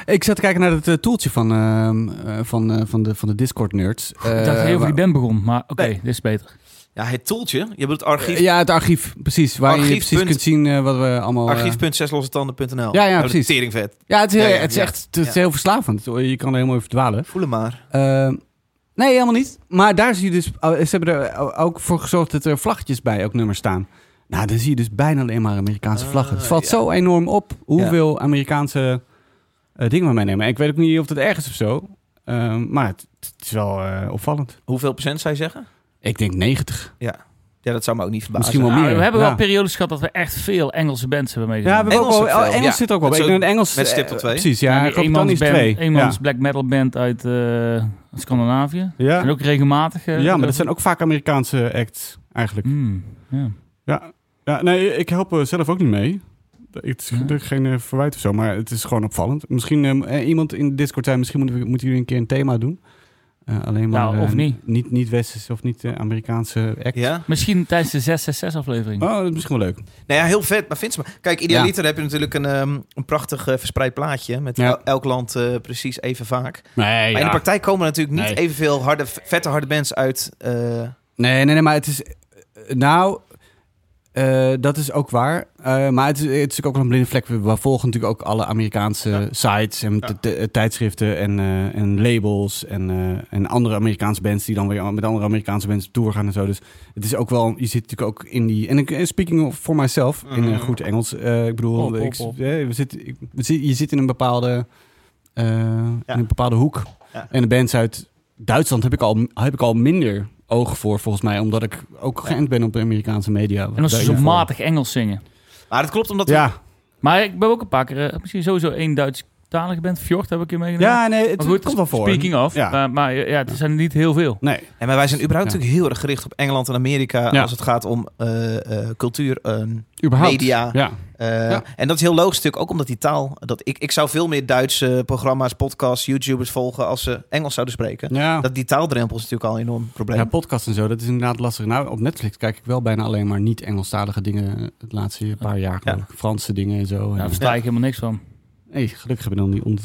Speaker 1: Ik zat te kijken naar het eh, toeltje van, ehm, eh, van, eh, van de, van de Discord-nerds.
Speaker 2: Ik dacht heel veel
Speaker 1: waar-
Speaker 2: die band begon, maar oké,
Speaker 3: eh, Nee.
Speaker 2: dit is beter.
Speaker 3: Ja, het toeltje. Je bedoelt archief,
Speaker 1: Ja, het archief, precies. Waar je
Speaker 3: Archief
Speaker 1: precies
Speaker 3: punt-
Speaker 1: kunt zien eh, wat we allemaal... eh,
Speaker 3: archief.zeslossetanden.nl.
Speaker 1: Ja, ja,
Speaker 3: Nou, dat
Speaker 1: precies.
Speaker 3: is Teringvet.
Speaker 1: ja, het is,
Speaker 3: Ja, ja,
Speaker 1: het is
Speaker 3: ja.
Speaker 1: echt het is
Speaker 3: Ja.
Speaker 1: heel verslavend. Je kan er helemaal over dwalen.
Speaker 3: Voel hem maar.
Speaker 1: Eh, nee, helemaal niet. Maar daar zie je dus... Ze hebben er ook voor gezorgd dat er vlaggetjes bij ook nummers staan. Nou, dan zie je dus bijna alleen maar Amerikaanse
Speaker 3: Ah,
Speaker 1: vlaggen. Het valt
Speaker 3: ja.
Speaker 1: zo enorm op hoeveel Amerikaanse eh, dingen we meenemen. En ik weet ook niet of dat ergens of zo. eh, maar het, het is wel eh, opvallend.
Speaker 3: Hoeveel procent zou je zeggen?
Speaker 1: Ik denk 90.
Speaker 3: Ja, dat zou me ook niet verbazen.
Speaker 1: Misschien wel
Speaker 2: Nou,
Speaker 1: meer.
Speaker 2: we hebben
Speaker 1: ja.
Speaker 2: wel periodes gehad dat we echt veel Engelse bands hebben
Speaker 1: Ja, we
Speaker 2: meegedaan.
Speaker 1: hebben ook
Speaker 3: Engels
Speaker 1: wel,
Speaker 3: ook veel,
Speaker 1: oh, Engels
Speaker 3: ja.
Speaker 1: zit ook wel.
Speaker 3: Met
Speaker 1: bij. Ik
Speaker 3: zo'n-
Speaker 1: denk Engels...
Speaker 3: met stip
Speaker 1: eh,
Speaker 3: tot twee.
Speaker 1: Precies, ja.
Speaker 2: die
Speaker 1: Groot-Brittannië is
Speaker 2: eenmans
Speaker 1: twee.
Speaker 2: band- eenmans
Speaker 1: Ja.
Speaker 2: black metal band uit eh, Scandinavië.
Speaker 1: Ja.
Speaker 2: En ook regelmatig. eh,
Speaker 1: ja, maar dat zijn ook vaak Amerikaanse acts eigenlijk.
Speaker 2: Hmm, ja.
Speaker 1: Ja, ja nee, ik help eh, zelf ook niet mee. Het is
Speaker 2: Ja.
Speaker 1: geen eh, verwijt of zo, maar het is gewoon opvallend. Misschien eh, eh, iemand in Discord zei, misschien moeten, we, moeten jullie een keer een thema doen. Eh, alleen maar
Speaker 2: Nou, of
Speaker 1: eh,
Speaker 2: niet.
Speaker 1: niet. Niet westerse of niet eh, Amerikaanse act.
Speaker 3: Ja?
Speaker 2: Misschien tijdens de 666 aflevering.
Speaker 1: Oh, dat is misschien wel leuk.
Speaker 3: Nou ja, heel vet. Maar vind ze maar. Kijk, idealiter heb je natuurlijk een, ehm, een prachtig eh, verspreid plaatje. Met
Speaker 1: Ja.
Speaker 3: el- elk land eh, precies even vaak.
Speaker 1: Nee,
Speaker 3: Maar in de praktijk komen er natuurlijk niet
Speaker 1: Nee.
Speaker 3: evenveel harde, vette harde bands uit. eh,
Speaker 1: nee, nee, nee, maar het is... eh, Nou, eh, dat is ook waar. Eh, maar het is, het is natuurlijk ook wel een blinde vlek. We we volgen natuurlijk ook alle Amerikaanse sites en t- t- tijdschriften en, eh, en labels en, eh, en andere Amerikaanse bands die dan weer met andere Amerikaanse bands op tour gaan en zo. Dus het is ook wel, je zit natuurlijk ook in die. En ik, eh, speaking of for myself, in eh,
Speaker 3: Mhm.
Speaker 1: goed Engels, eh, ik bedoel,
Speaker 2: Op, op,
Speaker 1: ik-
Speaker 2: op.
Speaker 1: eh, we zitten, ik- we zitten- je zit in een bepaalde, eh, in een bepaalde hoek.
Speaker 3: Ja.
Speaker 1: En de bands uit Duitsland heb ik al, heb ik al minder oog voor, volgens mij, omdat ik ook geënt ben op de Amerikaanse media.
Speaker 2: en als dus ze zo matig Engels zingen.
Speaker 3: Maar dat klopt omdat...
Speaker 1: Ja,
Speaker 2: Maar ik ben ook een paar keer, eh, misschien sowieso één Duits-talige band. Fjord heb ik hier meegedaan.
Speaker 1: ja nee, het
Speaker 2: Maar goed,
Speaker 1: komt wel voor.
Speaker 2: Speaking of. eh,
Speaker 1: Ja.
Speaker 2: Maar, maar ja, het zijn er niet heel veel. Nou,
Speaker 1: Nee.
Speaker 3: En maar wij zijn überhaupt
Speaker 1: Ja.
Speaker 3: natuurlijk heel erg gericht op Engeland en Amerika...
Speaker 1: Ja.
Speaker 3: als het gaat om eh, eh, cultuur, ehm,
Speaker 1: Überhaupt.
Speaker 3: Media.
Speaker 1: Ja.
Speaker 3: Eh,
Speaker 1: Ja.
Speaker 3: En dat is heel logisch natuurlijk, ook omdat die taal... Dat ik, ik zou veel meer Duitse programma's, podcasts, YouTubers volgen... als ze Engels zouden spreken.
Speaker 1: Ja.
Speaker 3: Dat die taaldrempel is natuurlijk al een enorm probleem.
Speaker 1: ja, podcast en zo, dat is inderdaad lastig. Nou, op Netflix kijk ik wel bijna alleen maar niet-Engelstalige dingen het laatste paar jaar. geloof ik. Franse dingen en zo.
Speaker 2: Ja, Daar
Speaker 1: En-
Speaker 2: versta ik helemaal niks van.
Speaker 1: Nee, gelukkig hebben we dan die onder...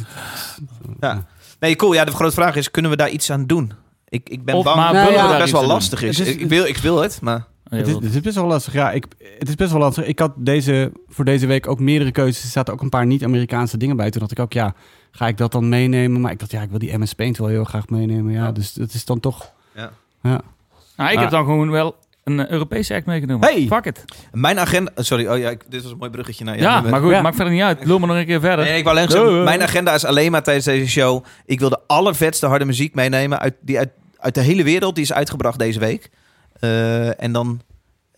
Speaker 3: Ja. Nee, cool. Ja, de grote vraag is, kunnen we daar iets aan doen? Ik, ik ben
Speaker 2: Of
Speaker 3: bang
Speaker 2: maar
Speaker 3: dat
Speaker 1: willen we
Speaker 3: het
Speaker 2: daar
Speaker 3: best
Speaker 2: iets
Speaker 3: wel
Speaker 2: aan
Speaker 3: lastig is.
Speaker 1: Het is-
Speaker 3: Ik, ik wil, ik wil het, maar...
Speaker 2: Ja,
Speaker 1: Het is,
Speaker 2: wel.
Speaker 1: het is best wel lastig. Ja, ik, het is best wel lastig. Ik had deze, voor deze week ook meerdere keuzes. Er zaten ook een paar niet-Amerikaanse dingen bij. Toen dacht ik ook, ja, ga ik dat dan meenemen? Maar ik dacht, ja, ik wil die MS Paint wel heel graag meenemen. Ja,
Speaker 3: Ja.
Speaker 1: dus dat is dan toch...
Speaker 3: Ja.
Speaker 1: Ja.
Speaker 2: Nou, ik
Speaker 1: Ah.
Speaker 2: heb dan gewoon wel een eh, Europese act meegenomen.
Speaker 1: Hey!
Speaker 2: Fuck it.
Speaker 3: Mijn agenda... Sorry, oh ja, ik- dit was een mooi bruggetje. Nou,
Speaker 2: Ja, maar goed,
Speaker 1: Ja.
Speaker 2: maakt verder niet uit. Lul maar nog een keer verder.
Speaker 3: Nee, ik wou alleen
Speaker 2: Nee,
Speaker 3: zeggen,
Speaker 2: nee,
Speaker 3: mijn
Speaker 2: nee.
Speaker 3: agenda is alleen maar tijdens deze show. Ik wil de allervetste harde muziek meenemen uit, die uit, uit de hele wereld. Die is uitgebracht deze week. Eh, en dan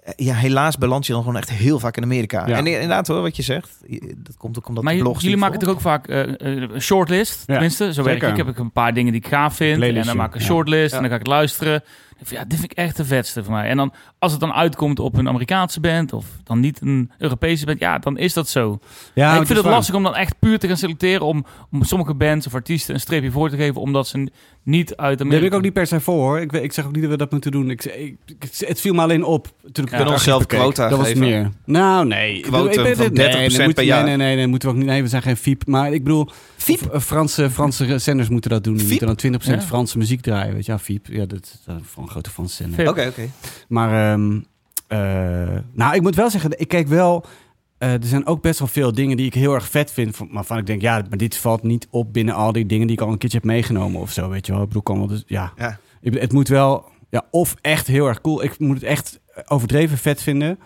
Speaker 3: eh, ja, helaas beland je dan gewoon echt heel vaak in Amerika.
Speaker 1: Ja.
Speaker 3: En i- inderdaad hoor, wat je zegt. i- Dat komt ook omdat
Speaker 2: maar
Speaker 3: de
Speaker 2: j-
Speaker 3: blogs
Speaker 2: jullie
Speaker 3: niet
Speaker 2: maken
Speaker 3: volgen.
Speaker 2: natuurlijk ook vaak eh, eh, een shortlist. Tenminste, zo werk ik.
Speaker 1: zeker.
Speaker 2: Ik heb ook een paar dingen die ik gaaf vind. en dan
Speaker 1: Playlistje,
Speaker 2: maak ik een
Speaker 1: ja.
Speaker 2: shortlist
Speaker 3: Ja.
Speaker 2: en dan ga ik het luisteren. Dan vind ik, Ja, dit vind ik echt de vetste voor mij. En dan, als het dan uitkomt op een Amerikaanse band of dan niet een Europese band, ja, dan is dat zo.
Speaker 1: Ja,
Speaker 2: ik
Speaker 1: dat
Speaker 2: vind
Speaker 1: is
Speaker 2: het
Speaker 1: waar.
Speaker 2: lastig om dan echt puur te gaan selecteren om, om sommige bands of artiesten een streepje voor te geven, omdat ze n- niet uit
Speaker 1: Daar
Speaker 2: Amerika...
Speaker 1: ben ik ook niet per se voor hoor. Ik, weet- ik zeg ook niet dat we dat moeten doen. Ik, ik, ik- het viel me alleen op. Toen ik
Speaker 2: Ja.
Speaker 1: het
Speaker 2: Kunnen
Speaker 3: we onszelf
Speaker 1: archief bekeek.
Speaker 3: quota
Speaker 1: Dat was het
Speaker 3: geven?
Speaker 1: meer. Nou, nee. Ik bedoel, ik
Speaker 3: Quotum
Speaker 1: ben-
Speaker 3: van
Speaker 1: nee,
Speaker 3: 30%
Speaker 1: nee, moet-
Speaker 3: per jaar.
Speaker 1: Nee, nee, nee, nee, moeten we ook niet. Nee, we zijn geen fiep. Maar ik bedoel, F- eh, Franse, Franse zenders moeten dat doen. Die
Speaker 3: Fiep?
Speaker 1: moeten dan 20%
Speaker 2: Ja.
Speaker 1: Franse muziek draaien. Weet je, ja, fiep. Ja, dat is eh, van een grote Franse zender.
Speaker 2: Fair.
Speaker 3: Oké, oké.
Speaker 1: Maar, ehm, eh, nou, ik moet wel zeggen, ik kijk wel. eh, er zijn ook best wel veel dingen die ik heel erg vet vind. van- Maar waarvan ik denk, ja, maar dit valt niet op binnen al die dingen die ik al een keertje heb meegenomen of zo. Weet je wel, ik bedoel, kan wel. Dus, ja.
Speaker 3: Ja.
Speaker 1: Ik bedoel, het moet wel, ja, of echt heel erg cool. Ik moet het echt overdreven vet vinden.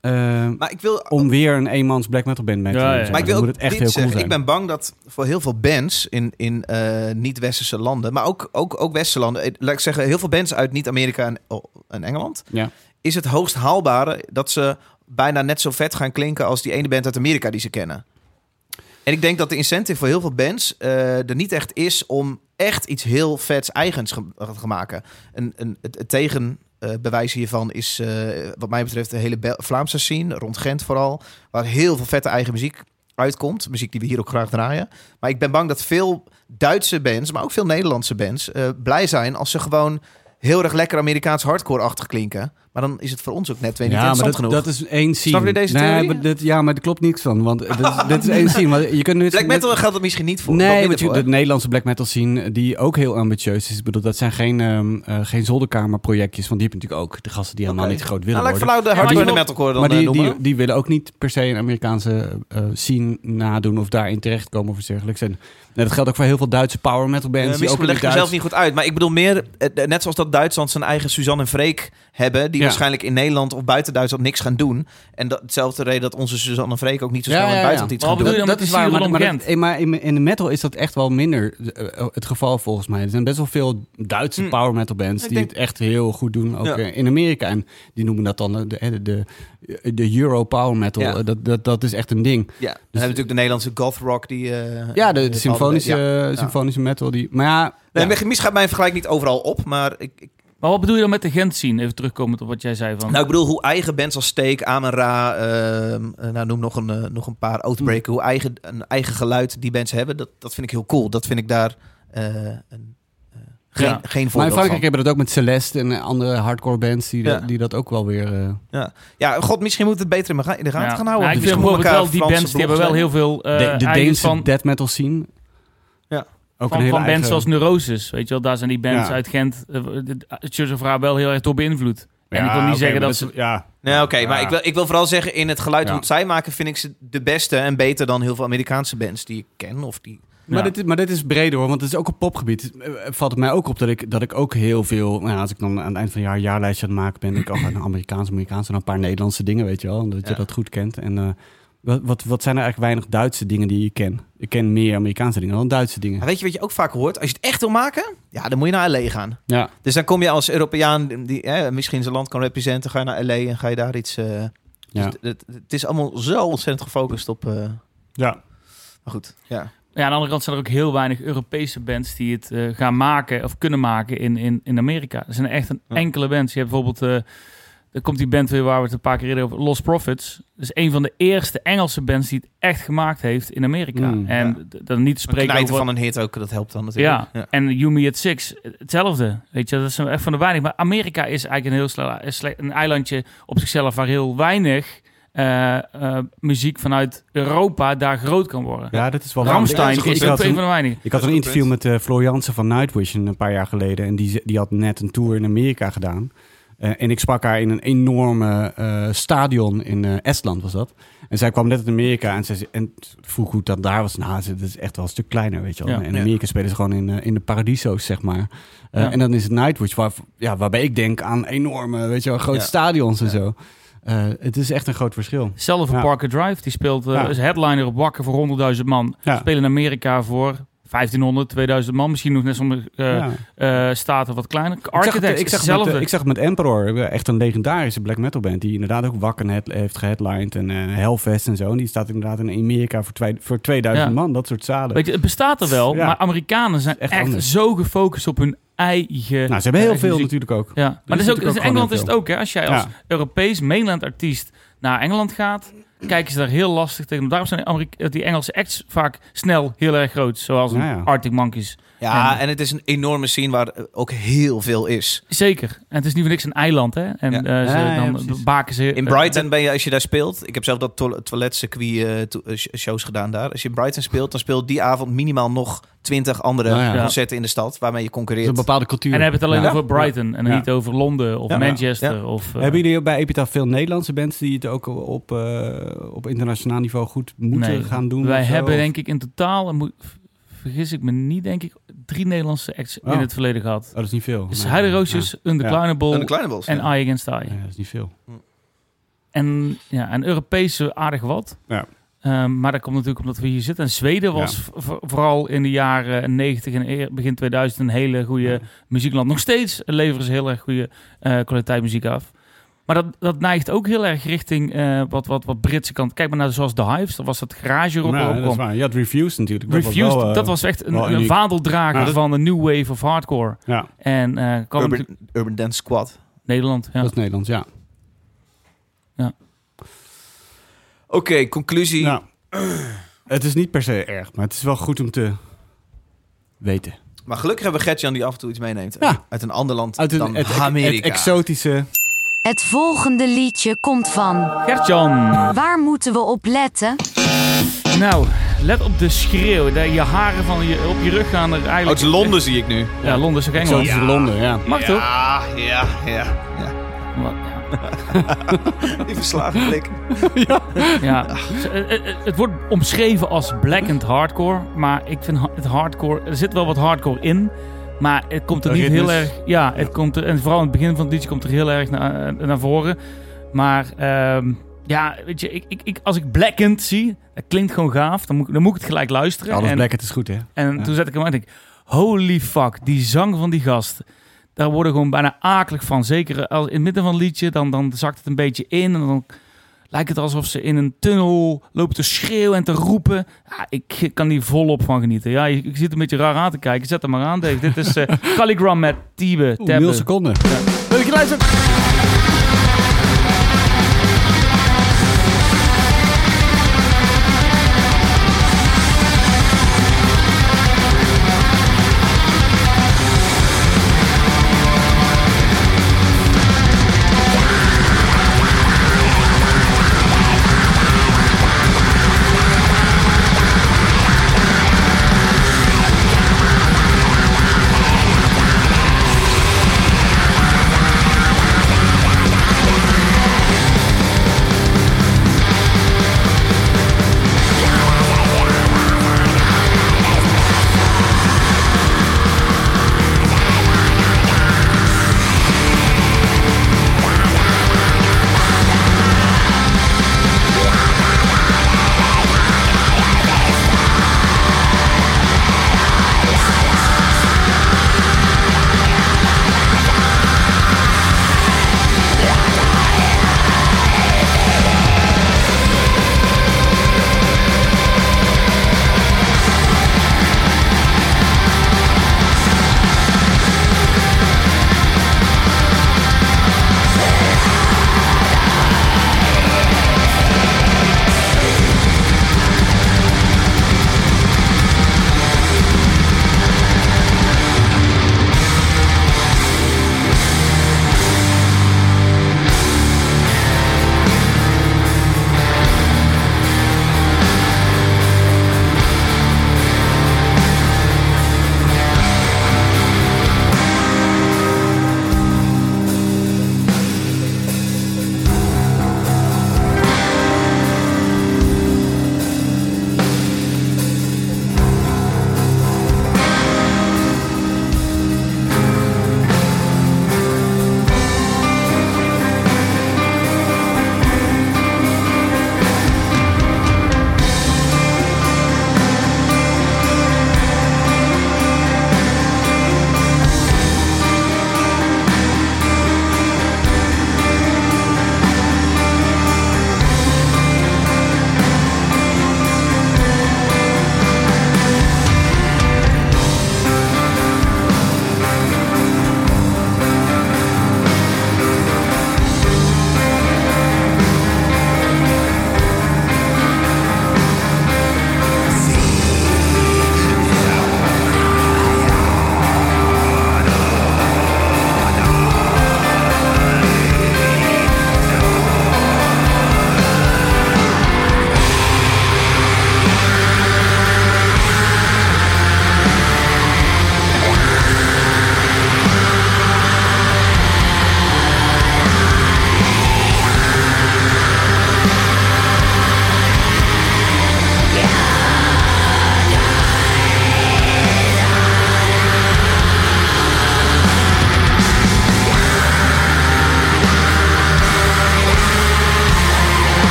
Speaker 1: eh,
Speaker 3: Maar ik wil
Speaker 1: om weer een eenmans black metal band mee te
Speaker 2: Ja,
Speaker 1: doen.
Speaker 2: ja.
Speaker 1: zeg maar.
Speaker 3: Maar ik wil
Speaker 1: Dan
Speaker 3: ook
Speaker 1: moet het echt
Speaker 3: dit
Speaker 1: heel cool
Speaker 3: zeggen.
Speaker 1: zijn.
Speaker 3: Ik ben bang dat voor heel veel bands in, in eh, niet-westerse landen, maar ook, ook, ook westerse landen, eh, laat ik zeggen, heel veel bands uit niet-Amerika en, oh, en Engeland,
Speaker 1: Ja.
Speaker 3: is het hoogst haalbare dat ze bijna net zo vet gaan klinken als die ene band uit Amerika die ze kennen. En ik denk dat de incentive voor heel veel bands eh, er niet echt is om echt iets heel vets eigens ge- te maken. Een, een, het, het tegenbewijs hiervan is, eh, wat mij betreft, de hele Bel- Vlaamse scene, rond Gent vooral, waar heel veel vette eigen muziek uitkomt. Muziek die we hier ook graag draaien. Maar ik ben bang dat veel Duitse bands, maar ook veel Nederlandse bands, eh, blij zijn als ze gewoon heel erg lekker Amerikaans hardcore-achtig klinken. Maar dan is het voor ons ook net weer niet
Speaker 1: ja, maar
Speaker 3: interessant
Speaker 1: dat,
Speaker 3: genoeg.
Speaker 1: dat is één scene.
Speaker 3: je deze
Speaker 1: nee,
Speaker 3: theorie?
Speaker 1: maar dit, ja, maar er klopt niks van. Want eh, dit, dit is één scene. Want je kunt nu
Speaker 3: Black metal geldt het misschien niet voor. wat
Speaker 1: Nee,
Speaker 3: minder
Speaker 1: want je,
Speaker 3: voor,
Speaker 1: de
Speaker 3: hè?
Speaker 1: Nederlandse black metal scene, eh, die ook heel ambitieus is. Ik bedoel, dat zijn geen, ehm, eh, geen zolderkamerprojectjes. Want die hebben natuurlijk ook de gasten die helemaal
Speaker 3: Oké.
Speaker 1: niet groot willen
Speaker 3: nou, laat ik
Speaker 1: worden.
Speaker 3: voor nou de
Speaker 2: Ja, maar
Speaker 3: hardcore en
Speaker 2: je-
Speaker 3: de metalcore dan
Speaker 1: maar die,
Speaker 3: eh, noemen.
Speaker 1: die, die willen ook niet per se een Amerikaanse eh, scene nadoen of daarin terechtkomen of dergelijks. En nou, dat geldt ook voor heel veel Duitse power metal
Speaker 3: Eh,
Speaker 1: bands. die ook
Speaker 3: misschien leg ik
Speaker 1: Duits-
Speaker 3: mezelf niet goed uit. Maar ik bedoel meer, eh, net zoals dat Duitsland zijn eigen Suzanne en Freek hebben... die
Speaker 1: Ja.
Speaker 3: waarschijnlijk in Nederland of buiten Duitsland niks gaan doen. En dat, hetzelfde reden dat onze Suzanne en Freek ook niet zo
Speaker 1: Ja,
Speaker 3: snel
Speaker 1: ja,
Speaker 3: in
Speaker 1: ja.
Speaker 3: het buitenland iets
Speaker 2: Maar
Speaker 3: gaan
Speaker 2: wat bedoel
Speaker 3: doen.
Speaker 2: je dan met die
Speaker 1: maar,
Speaker 2: Cyril
Speaker 1: maar,
Speaker 2: onbekend?
Speaker 1: dat- eh, maar in, in de metal is dat echt wel minder eh, het geval volgens mij. Er zijn best wel veel Duitse
Speaker 2: Hmm.
Speaker 3: Hm.
Speaker 1: power metal bands
Speaker 3: Ik
Speaker 1: die
Speaker 3: denk-
Speaker 1: het echt heel goed doen, ook
Speaker 3: Ja.
Speaker 1: eh, in Amerika. En die noemen dat dan eh, de, de, de, de Euro power metal.
Speaker 3: Ja.
Speaker 1: Eh, Dat, dat, dat is echt een ding.
Speaker 3: Ja, dan hebben we natuurlijk de Nederlandse goth rock die... eh,
Speaker 1: Ja, de, de
Speaker 3: eh,
Speaker 1: symfonische,
Speaker 3: ja.
Speaker 1: eh, symfonische metal. Die, maar ja,
Speaker 3: Nee,
Speaker 1: ja.
Speaker 3: maar Misschien gaat mijn vergelijk niet overal op, maar ik, ik,
Speaker 2: Maar wat bedoel je dan met de Gent scene? Even terugkomend op wat jij zei van...
Speaker 3: nou, ik bedoel hoe eigen bands als Steak, Amen Ra, ehm, eh, nou, noem nog een, eh, nog een paar,
Speaker 2: Hm.
Speaker 3: Outbreaker, hoe eigen, een eigen geluid die bands hebben, dat, dat vind ik heel cool. Dat vind ik daar eh, een, eh, geen,
Speaker 2: Ja.
Speaker 3: geen
Speaker 1: maar in
Speaker 3: voorbeeld
Speaker 1: Frankrijk
Speaker 3: van.
Speaker 1: hebben dat ook met Celeste en eh, andere hardcore bands die, dat-
Speaker 3: Ja.
Speaker 1: die dat ook wel weer... eh,
Speaker 3: Ja, god, misschien moet het beter in de in de gaten
Speaker 1: Dus
Speaker 3: gaan houden.
Speaker 2: Nou, ik vind
Speaker 3: Misschien
Speaker 2: bijvoorbeeld
Speaker 3: moeten
Speaker 2: wel
Speaker 3: elkaar
Speaker 2: die
Speaker 3: Franse
Speaker 2: bands, die hebben wel
Speaker 3: blogs
Speaker 2: heel veel eh
Speaker 1: de de
Speaker 2: eigen
Speaker 1: Deense
Speaker 2: van,
Speaker 1: death metal scene.
Speaker 3: Ja.
Speaker 1: Ook
Speaker 2: van,
Speaker 1: een hele
Speaker 2: van bands
Speaker 1: eigen-
Speaker 2: zoals Neurosis. Weet je wel, daar zijn die bands
Speaker 1: Ja.
Speaker 2: uit Gent, eh, de- de- Church of Ra wel heel erg door beïnvloed. en ik
Speaker 1: Ja,
Speaker 2: wil niet
Speaker 1: oké,
Speaker 2: zeggen
Speaker 1: maar
Speaker 2: dat ze...
Speaker 1: is- Ja,
Speaker 3: Nee, oké, maar
Speaker 1: Ja.
Speaker 3: ik wil, ik wil vooral zeggen, in het geluid
Speaker 1: Ja.
Speaker 3: hoe het zij maken, vind ik ze de beste en beter dan heel veel Amerikaanse bands die ik ken. Of die...
Speaker 1: Maar,
Speaker 2: Ja.
Speaker 1: dit, is- maar dit is breder hoor, want het is ook op popgebied. Eh, Valt het mij ook op dat ik, dat ik ook heel veel... Nou, ja, als ik dan aan het eind van het jaar een jaarlijstje aan het maken ben... denk ik, oh, een Amerikaans, Amerikaans en een paar Nederlandse dingen, weet je wel. Dat je
Speaker 3: Ja.
Speaker 1: dat goed kent. En eh, wat, wat, wat zijn er eigenlijk weinig Duitse dingen die je ken? Ik ken meer Amerikaanse dingen dan Duitse dingen.
Speaker 3: Maar weet je wat je ook vaak hoort? Als je het echt wil maken, ja, dan moet je naar L.A. gaan.
Speaker 1: Ja,
Speaker 3: Dus dan kom je als Europeaan die hè, misschien zijn land kan representen, ga je naar L.A. en ga je daar iets... eh,
Speaker 1: ja.
Speaker 3: dus het, het is allemaal zo ontzettend gefocust op... eh,
Speaker 1: ja.
Speaker 3: maar goed, ja.
Speaker 2: Ja, aan de andere kant zijn er ook heel weinig Europese bands die het eh, gaan maken of kunnen maken in, in, in Amerika. Er zijn echt een
Speaker 3: Ja.
Speaker 2: enkele bands. Je hebt bijvoorbeeld, eh er komt die band weer waar we het een paar keer eerder over Lost Profits. Dat is een van de eerste Engelse bands die het echt gemaakt heeft in Amerika.
Speaker 1: Mm,
Speaker 2: en d- dan niet te
Speaker 3: Een
Speaker 2: spreken
Speaker 3: knijten
Speaker 2: over...
Speaker 3: van een hit ook, dat helpt dan natuurlijk.
Speaker 2: Ja, en Yumi at Six, hetzelfde. Weet je, dat is echt van de weinig. Maar Amerika is eigenlijk een heel sle- een sle- een eilandje op zichzelf waar heel weinig eh, eh, muziek vanuit Europa daar groot kan worden.
Speaker 1: ja, dat is wel...
Speaker 2: Ramstein
Speaker 1: Nou, Ik- ik
Speaker 2: is
Speaker 1: had
Speaker 2: ook een
Speaker 1: een-
Speaker 2: van de weinigen.
Speaker 1: Ik had een interview met eh Floor Jansen van Nightwish een paar jaar geleden. En die, ze- die had net een tour in Amerika gedaan. Eh, en ik sprak haar in een enorme eh, stadion in eh, Estland, was dat. En zij kwam net uit Amerika en, zij ze, en vroeg hoe dat daar was. Nou, ze- dat is echt wel een stuk kleiner, weet je wel.
Speaker 2: Ja.
Speaker 1: en in
Speaker 3: Ja.
Speaker 1: Amerika spelen ze gewoon in, eh, in de paradiso's, zeg maar. Eh,
Speaker 2: Ja.
Speaker 1: En dan is het Nightwish, waar, ja, waarbij ik denk aan enorme, weet je wel, grote
Speaker 3: Ja.
Speaker 1: stadions en zo. Eh, het is echt een groot verschil.
Speaker 2: Zelf een
Speaker 1: Ja.
Speaker 2: Parker Drive, die speelt eh,
Speaker 1: Ja.
Speaker 2: als headliner op Wakker voor 100.000 man.
Speaker 1: Ja.
Speaker 2: Spelen in Amerika voor 50.000 1500, 2000 man. Misschien nog net sommige eh,
Speaker 1: Ja.
Speaker 2: eh, staten wat kleiner.
Speaker 1: Ik zag,
Speaker 2: Architects,
Speaker 1: het, ik, zag het met,
Speaker 2: hetzelfde.
Speaker 1: ik zag het met Emperor, echt een legendarische black metal band. Die inderdaad ook Wakken het- heeft geheadlined en eh, Hellfest en zo. En die staat inderdaad in Amerika voor, twee, voor 2000
Speaker 2: Ja.
Speaker 1: man, dat soort zalen.
Speaker 2: Weet je, het bestaat er wel,
Speaker 1: Ja.
Speaker 2: maar Amerikanen zijn
Speaker 1: Echt
Speaker 2: echt,
Speaker 1: anders.
Speaker 2: zo gefocust op hun eigen...
Speaker 1: nou, ze hebben heel
Speaker 2: eigen
Speaker 1: veel
Speaker 2: eh, muziek.
Speaker 1: natuurlijk ook.
Speaker 2: Ja, maar dat is ook,
Speaker 1: natuurlijk
Speaker 2: in
Speaker 1: ook gewoon
Speaker 2: Engeland
Speaker 1: heel
Speaker 2: is het ook, hè? Als jij als
Speaker 1: Ja.
Speaker 2: Europees mainland artiest naar Engeland gaat, kijken ze daar heel lastig tegen. Daarom zijn die, Amerik- eh, die Engelse acts vaak snel heel erg groot, zoals een
Speaker 1: Ja, ja.
Speaker 2: Arctic Monkeys.
Speaker 3: Ja,
Speaker 2: En-
Speaker 3: en het is een enorme scene waar eh, ook heel veel is.
Speaker 2: Zeker. En het is niet voor niks een eiland, hè? En
Speaker 3: Ja.
Speaker 2: eh, ze,
Speaker 3: Ja, ja,
Speaker 2: dan
Speaker 3: precies.
Speaker 2: baken ze...
Speaker 3: In
Speaker 2: eh,
Speaker 3: Brighton ben je, als je daar speelt... Ik heb zelf dat toil- toiletcircuit eh, to- eh, sh- shows gedaan daar. Als je in Brighton speelt, dan speelt die avond minimaal nog twintig andere
Speaker 1: Nou ja.
Speaker 3: concerten in de stad... waarmee je
Speaker 1: Dat is
Speaker 3: concurreert.
Speaker 1: een bepaalde cultuur.
Speaker 2: en dan hebben we het alleen
Speaker 1: Ja.
Speaker 2: over Brighton en
Speaker 1: Ja.
Speaker 2: niet over Londen of
Speaker 3: Ja.
Speaker 2: Manchester
Speaker 3: Ja.
Speaker 2: of... eh,
Speaker 1: Hebben jullie bij Epitaph veel Nederlandse bands die het ook op, eh, op internationaal niveau goed moeten
Speaker 2: eh, nee.
Speaker 1: gaan doen?
Speaker 2: Wij
Speaker 1: of zo?
Speaker 2: hebben denk ik in totaal, en moet- vergis ik me niet, denk ik, drie Nederlandse acts
Speaker 1: Oh.
Speaker 2: in het verleden gehad.
Speaker 1: Oh, dat is niet veel.
Speaker 2: Dus
Speaker 1: Nee.
Speaker 2: Heide Roosjes, Undeclinable
Speaker 3: En de kleine Bulls,
Speaker 2: en
Speaker 3: ja.
Speaker 2: Eye Against Eye.
Speaker 1: Ja. Nee, dat is niet veel.
Speaker 2: En ja, en Europese aardig wat.
Speaker 1: Ja.
Speaker 2: Ehm, maar dat komt natuurlijk omdat we hier zitten. En Zweden was v- v- vooral in de jaren 90 en eer- begin 2000 een hele goede
Speaker 1: Ja.
Speaker 2: muziekland. Nog steeds leveren ze heel erg goede eh, kwaliteit muziek af. Maar dat, dat neigt ook heel erg richting eh, wat, wat, wat Britse kant. Kijk maar naar zoals The Hives. Dat was dat garage rock
Speaker 1: Nou,
Speaker 2: waarop
Speaker 1: dat is
Speaker 2: kwam.
Speaker 1: waar. Je had Refused natuurlijk. Dat
Speaker 2: Refused,
Speaker 1: wel, eh,
Speaker 2: dat was echt
Speaker 1: wel
Speaker 2: een, een
Speaker 1: uniek.
Speaker 2: vaandeldrager
Speaker 1: Ja, dat-
Speaker 2: van de new wave of hardcore.
Speaker 1: Ja,
Speaker 2: En eh kwam natuurlijk-
Speaker 3: Urban, Urban Dance Squad.
Speaker 2: Nederland. Ja.
Speaker 1: dat is Nederlands, ja.
Speaker 3: Oké, conclusie.
Speaker 1: Nou, het is niet per se erg, maar het is wel goed om te weten.
Speaker 3: Maar gelukkig hebben we Gertjan die af en toe iets meeneemt.
Speaker 1: Ja.
Speaker 3: Uit een ander land
Speaker 1: Uit
Speaker 3: dan
Speaker 1: een, het, het
Speaker 3: Amerika.
Speaker 1: exotische...
Speaker 5: Het volgende liedje komt van.
Speaker 2: Gertjan.
Speaker 5: Waar moeten we op letten?
Speaker 2: Nou, let op de schreeuw. De, je haren van je, op je rug gaan er
Speaker 3: Uit
Speaker 2: eigenlijk...
Speaker 3: Oh, Londen zie ik nu.
Speaker 2: Ja, Londen is ook Engeland.
Speaker 1: Exotische Londen, ja.
Speaker 2: Mag toch?
Speaker 3: Ja, Ah, ja, ja. ja.
Speaker 2: Wat- ja.
Speaker 3: Die verslagen blik.
Speaker 2: Ja. Dus, eh, eh, eh, Het wordt omschreven als blackened hardcore. Maar ik vind ha- het hardcore... Er zit wel wat hardcore in. Maar het komt er
Speaker 1: De
Speaker 2: niet
Speaker 1: ritmes.
Speaker 2: heel
Speaker 3: dus-
Speaker 2: erg... Ja, het komt er, en vooral in het begin van het liedje komt er heel erg naar, naar voren. Maar ehm, ja, weet je, ik, ik, ik, als ik blackened zie... Dat klinkt gewoon gaaf. Dan moet, ik- dan moet ik het gelijk luisteren.
Speaker 1: Alles
Speaker 2: En-
Speaker 1: black, het is goed, hè?
Speaker 2: En
Speaker 1: Ja.
Speaker 2: toen zette ik hem aan en ik, holy fuck, die zang van die gast. Daar worden gewoon bijna akelig van. Zeker als in het midden van het liedje, dan, dan zakt het een beetje in. En dan lijkt het alsof ze in een tunnel lopen te schreeuwen en te roepen. Ja, ik kan hier volop van genieten. Ja, ik, ik zit een beetje raar aan te kijken. Zet hem maar aan, Dave. Dit is eh Calligram met Tibe.
Speaker 1: Oeh, nul
Speaker 2: Tabbe.
Speaker 1: seconden. Wil ik je luisteren?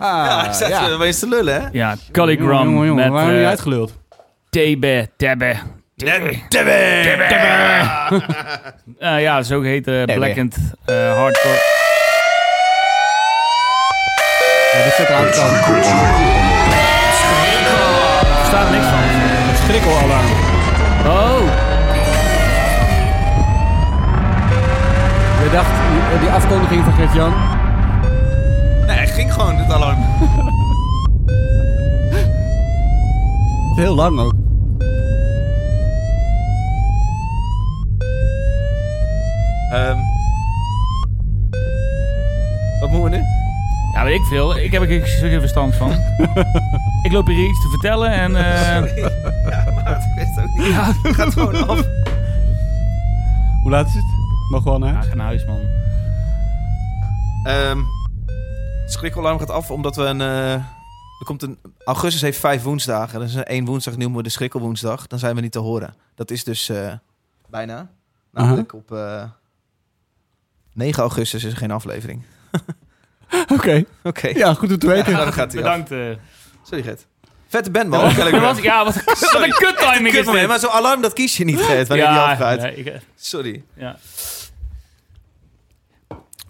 Speaker 3: ja, ik zat
Speaker 1: ja.
Speaker 3: Ah, ja. opeens eh, te lullen, hè?
Speaker 2: Ja, Calligram
Speaker 1: Jongen, jongen, jongen,
Speaker 2: met
Speaker 1: waarom ben je
Speaker 2: eh,
Speaker 1: uitgeluld?
Speaker 2: Tebe, Tebe. Tebe. Eh, ja, zo heet eh Blackened eh, Hardcore.
Speaker 1: Ja, dit zit er aan de kant.
Speaker 2: Er staat niks van.
Speaker 1: Schrikkelarm.
Speaker 2: Oh,
Speaker 1: Je dacht, die, die afkondiging van Gert-Jan.
Speaker 3: Nee, het ging gewoon, het alarm.
Speaker 1: Heel lang ook.
Speaker 3: Ehm, wat moeten we nu?
Speaker 2: ja, weet ik veel. Ik heb er geen- geen verstand van. ik loop hier iets te vertellen en... eh,
Speaker 3: Ja, maar ik wist het ook niet. Ja. Het gaat gewoon af.
Speaker 1: Hoe laat is het? Mogen we al naar
Speaker 2: ja,
Speaker 1: huis?
Speaker 2: ga naar huis, man.
Speaker 3: Ehm het schrikalarm gaat af omdat we een... eh, er komt een... Augustus heeft vijf woensdagen. Dat is een één woensdag noemen we de schrikkelwoensdag. Dan zijn we niet te horen. Dat is dus eh, bijna. Namelijk op eh 9 augustus is er geen aflevering.
Speaker 1: Oké.
Speaker 3: Oké, nou,
Speaker 1: Ja, goed om te weten.
Speaker 3: dan gaat hij af.
Speaker 2: Bedankt. eh.
Speaker 3: Sorry, Gert. Vette band, man. Kelly
Speaker 2: Dat
Speaker 3: Graham.
Speaker 2: was, ja, wat een, wat een kut timing is
Speaker 3: Kut, man,
Speaker 2: dit.
Speaker 3: maar zo'n alarm dat kies je niet, Gert, wanneer die afgaat.
Speaker 2: ja, ik-
Speaker 3: Sorry.
Speaker 2: ja.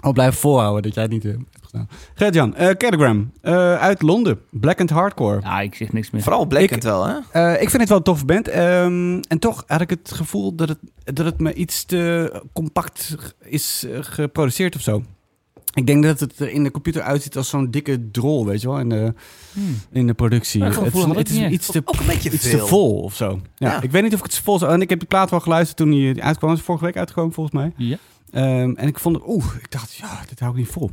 Speaker 1: Al blijven volhouden dat jij het niet eh, hebt gedaan. Gert-Jan, eh Telegram. eh, uit Londen. Black and Hardcore.
Speaker 2: Ja, ik zeg niks meer.
Speaker 3: Vooral Blackend wel, hè?
Speaker 1: Eh, ik vind het wel een tof band. Ehm, en toch had ik het gevoel dat het, dat het me iets te compact is eh, geproduceerd of zo. Ik denk dat het er in de computer uitziet als zo'n dikke drol, weet je wel, in de,
Speaker 2: Hmm.
Speaker 1: in de productie.
Speaker 2: Dat
Speaker 1: Het,
Speaker 2: gevoel
Speaker 1: is-
Speaker 2: had ik
Speaker 1: het is
Speaker 2: niet Oh, echt.
Speaker 1: iets te,
Speaker 3: Ook een beetje
Speaker 1: iets te
Speaker 3: veel.
Speaker 1: vol of zo. Ja,
Speaker 3: Ja.
Speaker 1: Ik weet niet of ik het vol zou... En ik heb die plaat wel geluisterd toen die uitkwam. Het is vorige week uitgekomen, volgens mij.
Speaker 2: Ja.
Speaker 1: Ehm, en ik vond het... Oeh, ik dacht, ja, dit hou ik niet vol.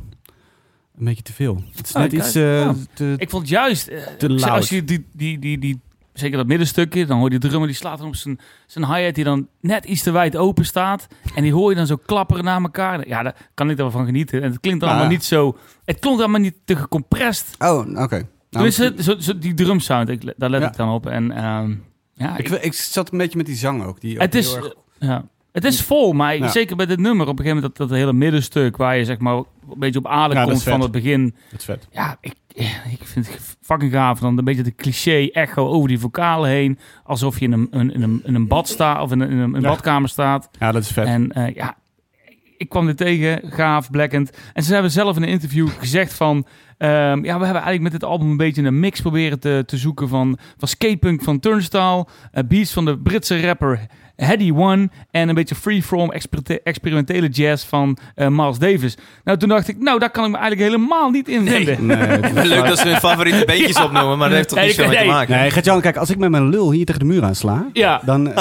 Speaker 1: Een beetje te veel. Het is
Speaker 2: Oh,
Speaker 1: net
Speaker 2: ik-
Speaker 1: iets... eh,
Speaker 2: ja.
Speaker 1: te,
Speaker 2: Ik vond juist, eh,
Speaker 1: Te
Speaker 2: als je-
Speaker 1: loud.
Speaker 2: als je die, die, die, die, zeker dat middenstukje, dan hoor je die drummer die slaat dan op zijn, zijn hi-hat die dan net iets te wijd open staat. En die hoor je dan zo klapperen naar elkaar. Ja, daar kan ik dan van genieten. En het klinkt dan
Speaker 1: Ja.
Speaker 2: allemaal niet zo, het klonk allemaal niet te gecompressed.
Speaker 1: oh, oké. Nou,
Speaker 2: Tenminste, Dus zo, zo, die drumsound, ik, daar let
Speaker 1: Ja.
Speaker 2: ik dan op. En ehm, ja,
Speaker 1: ik,
Speaker 2: ik,
Speaker 1: ik zat een beetje met die zang ook. Die ook
Speaker 2: het is...
Speaker 1: heel erg-
Speaker 2: ja. Het is vol, maar
Speaker 1: Ja.
Speaker 2: zeker bij dit nummer, op een gegeven moment dat, dat hele middenstuk waar je zeg maar een beetje op adem
Speaker 1: Ja, dat
Speaker 2: komt
Speaker 1: is vet.
Speaker 2: van het begin.
Speaker 1: Dat is vet.
Speaker 2: Ja, ik, eh, ik vind het fucking gaaf. Dan een beetje de cliché echo over die vocalen heen. Alsof je in een, een, in een, in een bad staat of in een, in een, een
Speaker 1: Ja.
Speaker 2: badkamer staat.
Speaker 1: Ja, dat is vet.
Speaker 2: En eh, ja, ik kwam dit tegen. Gaaf, blackend. En ze hebben zelf in een interview gezegd van... ehm, ja, we hebben eigenlijk met dit album een beetje een mix proberen te, te zoeken van, van skatepunk van Turnstile, eh, beats van de Britse rapper Heady One en een beetje free-from exper- experimentele jazz van eh, Miles Davis. Nou, toen dacht ik, nou, daar kan ik me eigenlijk helemaal niet in vinden.
Speaker 1: Nee,
Speaker 3: Leuk dat ze hun favoriete beentjes opnoemen, maar dat heeft toch
Speaker 2: Nee,
Speaker 3: niet
Speaker 2: ik-
Speaker 3: veel mee te
Speaker 2: nee.
Speaker 3: maken.
Speaker 1: nee Gert-Jan, kijk, als ik met mijn lul hier tegen de muur aan sla,
Speaker 2: Ja,
Speaker 1: dan... eh,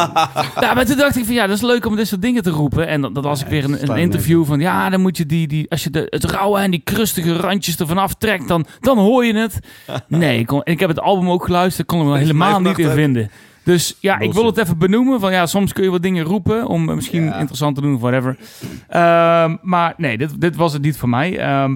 Speaker 2: Ja, maar toen dacht ik van ja, dat is leuk om dit soort dingen te roepen. En dat, dat was ik weer
Speaker 1: dat
Speaker 2: een,
Speaker 1: slaat
Speaker 2: een interview van ja, dan moet je die, die als je de, het rauwe en die krustige randjes ervan aftrekt, dan, dan hoor je het. Nee, ik, kon, ik heb het album ook geluisterd, kon er wel
Speaker 3: Deze
Speaker 2: helemaal niet in
Speaker 3: mijnvracht ook.
Speaker 2: vinden. Dus ja, ik wil het even benoemen. Van ja, soms kun je wat dingen roepen om eh, misschien
Speaker 3: Ja.
Speaker 2: interessant te doen of whatever. Ehm, maar nee, dit, dit was het niet voor mij. Ehm,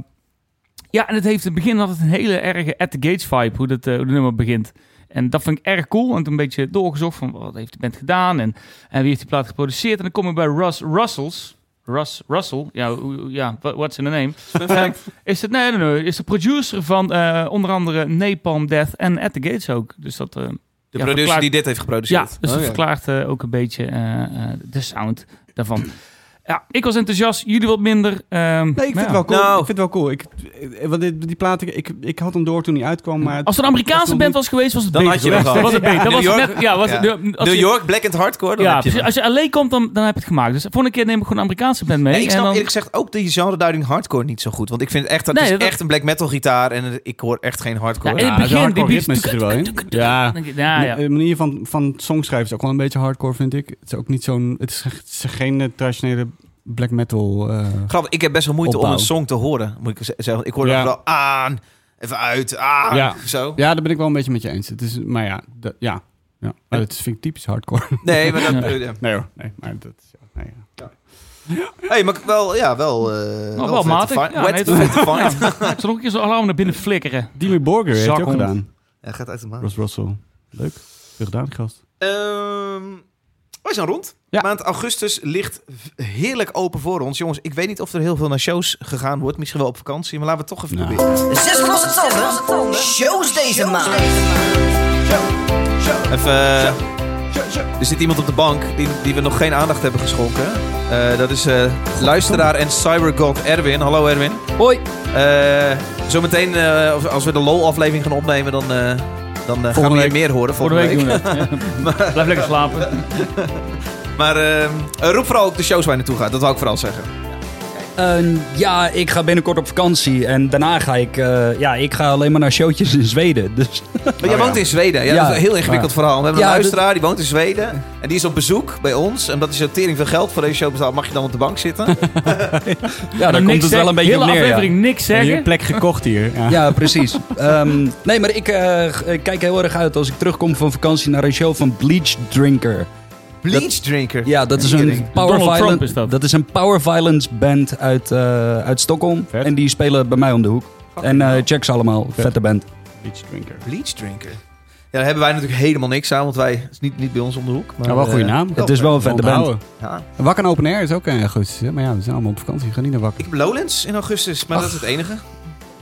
Speaker 2: ja, en het heeft in het begin altijd een hele erge at the gates vibe, hoe dat eh, hoe het nummer begint. En dat vind ik erg cool. En toen een beetje doorgezocht van wat heeft de band gedaan en, en wie heeft die plaat geproduceerd. En dan kom ik bij Russ Russells. Russ Russell, ja, hoe- hoe- ja what- what's in the name? Eh, is het, nee, nee, nee, is de producer van eh, onder andere Napalm Death en At the Gates ook. Dus dat, eh,
Speaker 3: De
Speaker 2: Ja,
Speaker 3: producer
Speaker 2: verklaar-
Speaker 3: die dit heeft
Speaker 2: ja,
Speaker 3: geproduceerd.
Speaker 2: dus dat verklaart eh, ook een beetje eh, eh, de sound daarvan. Ja, ik was enthousiast, jullie wat minder. ehm,
Speaker 1: nee, ik vind
Speaker 2: maar
Speaker 1: het
Speaker 2: ja.
Speaker 1: wel cool.
Speaker 3: Nou.
Speaker 1: Ik vind het wel cool. Ik, eh, want dit- die plaat, ik- ik, ik had hem door toen hij uitkwam, maar...
Speaker 2: Als het een Amerikaanse
Speaker 1: nog
Speaker 2: band
Speaker 1: niet-
Speaker 2: was geweest, was het
Speaker 3: Dan
Speaker 2: beter
Speaker 3: had je hem
Speaker 2: geweest.
Speaker 3: gehad.
Speaker 2: was het beter. Dan was
Speaker 3: New
Speaker 2: het
Speaker 3: York.
Speaker 2: net, ja, was
Speaker 3: Ja.
Speaker 2: het, de- als
Speaker 3: New
Speaker 2: je-
Speaker 3: York, Black and Hardcore, dan
Speaker 2: ja,
Speaker 3: heb je
Speaker 2: precies.
Speaker 3: hem.
Speaker 2: Als je alleen komt, dan, dan heb je het gemaakt. Dus de volgende keer neem ik gewoon een Amerikaanse band mee.
Speaker 3: Nee, ik
Speaker 2: en
Speaker 3: snap
Speaker 2: dan,
Speaker 3: eerlijk gezegd ook de genreduiding hardcore niet zo goed. Want ik vind het echt, dat
Speaker 2: Nee,
Speaker 3: is
Speaker 2: dat-
Speaker 3: echt een black metal gitaar en ik hoor echt geen
Speaker 2: ja,
Speaker 3: hardcore.
Speaker 2: in
Speaker 1: Ja,
Speaker 2: het
Speaker 1: er zijn
Speaker 2: begin, die
Speaker 1: hardcore
Speaker 2: beats...
Speaker 1: ritmes er wel in. Ja.
Speaker 2: Dan denk je, nou ja.
Speaker 1: De eh, manier van, van songschrijven is ook wel een beetje hardcore, vind ik. Het is ook niet zo'n... Het is, echt- het is geen eh, traditionele black metal... eh,
Speaker 3: Grappig, ik heb best wel moeite om
Speaker 1: Opbouw.
Speaker 3: een song te horen, moet ik z- zeggen. Ik hoor
Speaker 1: Ja.
Speaker 3: dat wel aan, even uit, aan,
Speaker 1: Ja.
Speaker 3: zo.
Speaker 1: ja, daar ben ik wel een beetje met je eens. Het is, maar ja, dat- ja. ja. Maar dat vind ik typisch hardcore.
Speaker 3: Nee, maar dat...
Speaker 2: Ja.
Speaker 3: eh, ja.
Speaker 1: Nee hoor, nee. Maar dat is... Nee, ja.
Speaker 3: hey, maar wel, ja, wel... eh
Speaker 2: Nog wel
Speaker 3: vette
Speaker 2: matig.
Speaker 3: fight.
Speaker 2: Ja,
Speaker 3: Wet-
Speaker 2: nee,
Speaker 3: vette fight.
Speaker 2: Ja, ik zal nog een keer zo'n alarm naar binnen flikkeren.
Speaker 1: Dimmy Borger heeft het ook
Speaker 2: Zakhond.
Speaker 1: gedaan.
Speaker 3: Ja, gaat uit de maat.
Speaker 1: Ross Russell. Leuk. Veel gedaan, gast.
Speaker 3: Ehm, Oké, Wij zijn rond.
Speaker 1: Ja.
Speaker 3: Maand augustus ligt v- heerlijk open voor ons. Jongens, ik weet niet of er heel veel naar shows gegaan wordt. Misschien wel op vakantie, maar laten we het toch
Speaker 1: Nou.
Speaker 3: even proberen.
Speaker 4: Zes losse tanden. Shows deze maand.
Speaker 3: Even, eh, er zit iemand op de bank die, die we nog geen aandacht hebben geschonken. Eh, dat is eh, luisteraar en cybergod Erwin. Hallo Erwin.
Speaker 2: Hoi.
Speaker 3: Eh, zometeen, eh, of- als we de LOL-aflevering gaan opnemen, dan, eh, dan eh, gaan we weer
Speaker 2: week.
Speaker 3: meer horen
Speaker 2: Voor de
Speaker 3: volgende
Speaker 2: week
Speaker 3: week.
Speaker 2: doen we dat. Ja. Blijf lekker slapen.
Speaker 3: Maar eh, roep vooral ook de shows waar je naartoe gaat. Dat wou ik vooral zeggen.
Speaker 6: Oh, Eh, ja, ik ga binnenkort op vakantie. En daarna ga ik... eh, ja, ik ga alleen maar naar showtjes in Zweden. Dus
Speaker 3: Maar jij
Speaker 6: Oh,
Speaker 3: woont in Zweden. Ja,
Speaker 6: Ja,
Speaker 3: dat is een heel ingewikkeld verhaal. We hebben een
Speaker 6: Ja, dat-
Speaker 3: luisteraar, die woont in Zweden. En die is op bezoek bij ons. En dat is een tering veel geld. Voor deze show betaald mag je dan op de bank zitten.
Speaker 6: ja, daar
Speaker 2: Dan
Speaker 6: komt het wel een beetje op
Speaker 2: Hele
Speaker 6: neer. ja.
Speaker 2: aflevering niks
Speaker 1: Heb je
Speaker 2: zeggen.
Speaker 1: een plek gekocht hier? Ja.
Speaker 6: Ja, precies. Ehm, nee, maar ik eh, g- ik kijk heel erg uit als ik terugkom van vakantie naar een show van Bleach Drinker.
Speaker 3: Bleach drinker.
Speaker 6: Ja, dat is een
Speaker 3: Tering.
Speaker 6: power
Speaker 2: Donald Trump
Speaker 6: violence.
Speaker 2: is dat.
Speaker 6: is een power violence band uit, eh, uit Stockholm.
Speaker 1: Vet.
Speaker 6: En die spelen bij mij om de hoek. En eh, check ze allemaal.
Speaker 1: Vet.
Speaker 6: Vette band.
Speaker 1: Beach drinker.
Speaker 3: Bleach drinker. Ja, daar hebben wij natuurlijk helemaal niks aan. Want wij, het is niet, niet bij ons om de hoek. Maar,
Speaker 1: Nou, wel een goede
Speaker 3: eh,
Speaker 1: naam.
Speaker 6: Het is wel een vette band.
Speaker 1: Onthouden.
Speaker 3: ja.
Speaker 1: Wakken Open Air is ook een goed succes, Maar ja, we zijn allemaal op vakantie. Ga niet naar Wakken.
Speaker 3: Ik heb Lowlands in augustus. Maar dat is het enige.
Speaker 1: Ga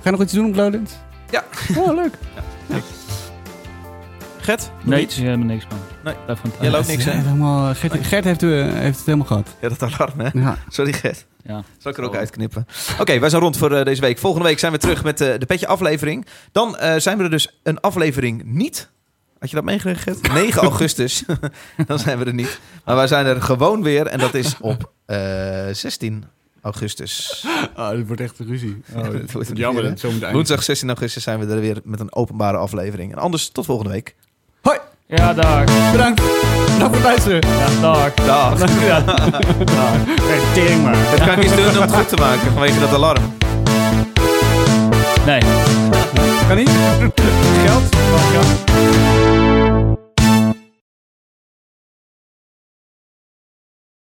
Speaker 1: je nog iets doen op Lowlands?
Speaker 3: Ja.
Speaker 1: Oh, leuk.
Speaker 3: Gert?
Speaker 2: Nee,
Speaker 3: Bleach?
Speaker 2: ze hebben niks man.
Speaker 3: Nee.
Speaker 2: Blijf van
Speaker 3: Jij loopt niks,
Speaker 1: Ja,
Speaker 3: hè?
Speaker 1: helemaal, Gert, Gert heeft, eh, heeft het helemaal gehad.
Speaker 3: Ja, dat alarm, hè?
Speaker 1: Ja.
Speaker 3: Sorry, Gert.
Speaker 2: Ja.
Speaker 3: Zal ik er ook uitknippen. Oké, wij zijn rond voor eh, deze week. Volgende week zijn we terug met eh, de Petje aflevering. Dan eh, zijn we er dus een aflevering niet. Had je dat meegekregen, Gert? 9 augustus. Dan zijn we er niet. Maar wij zijn er gewoon weer. En dat is op eh, 16 augustus.
Speaker 1: Oh, dit wordt echt een ruzie.
Speaker 3: dat wordt wordt een jammer, hè?
Speaker 1: zo moet
Speaker 3: Woensdag 16 augustus zijn we er weer met een openbare aflevering. En anders tot volgende week.
Speaker 2: Ja, dag.
Speaker 1: Bedankt. Bedankt voor het luisteren.
Speaker 2: Ja, dag.
Speaker 3: Dag.
Speaker 2: Ja,
Speaker 1: Tering maar.
Speaker 3: Het kan ik iets doen om het goed te maken vanwege dat alarm.
Speaker 2: Nee.
Speaker 1: Kan niet?
Speaker 2: Oh,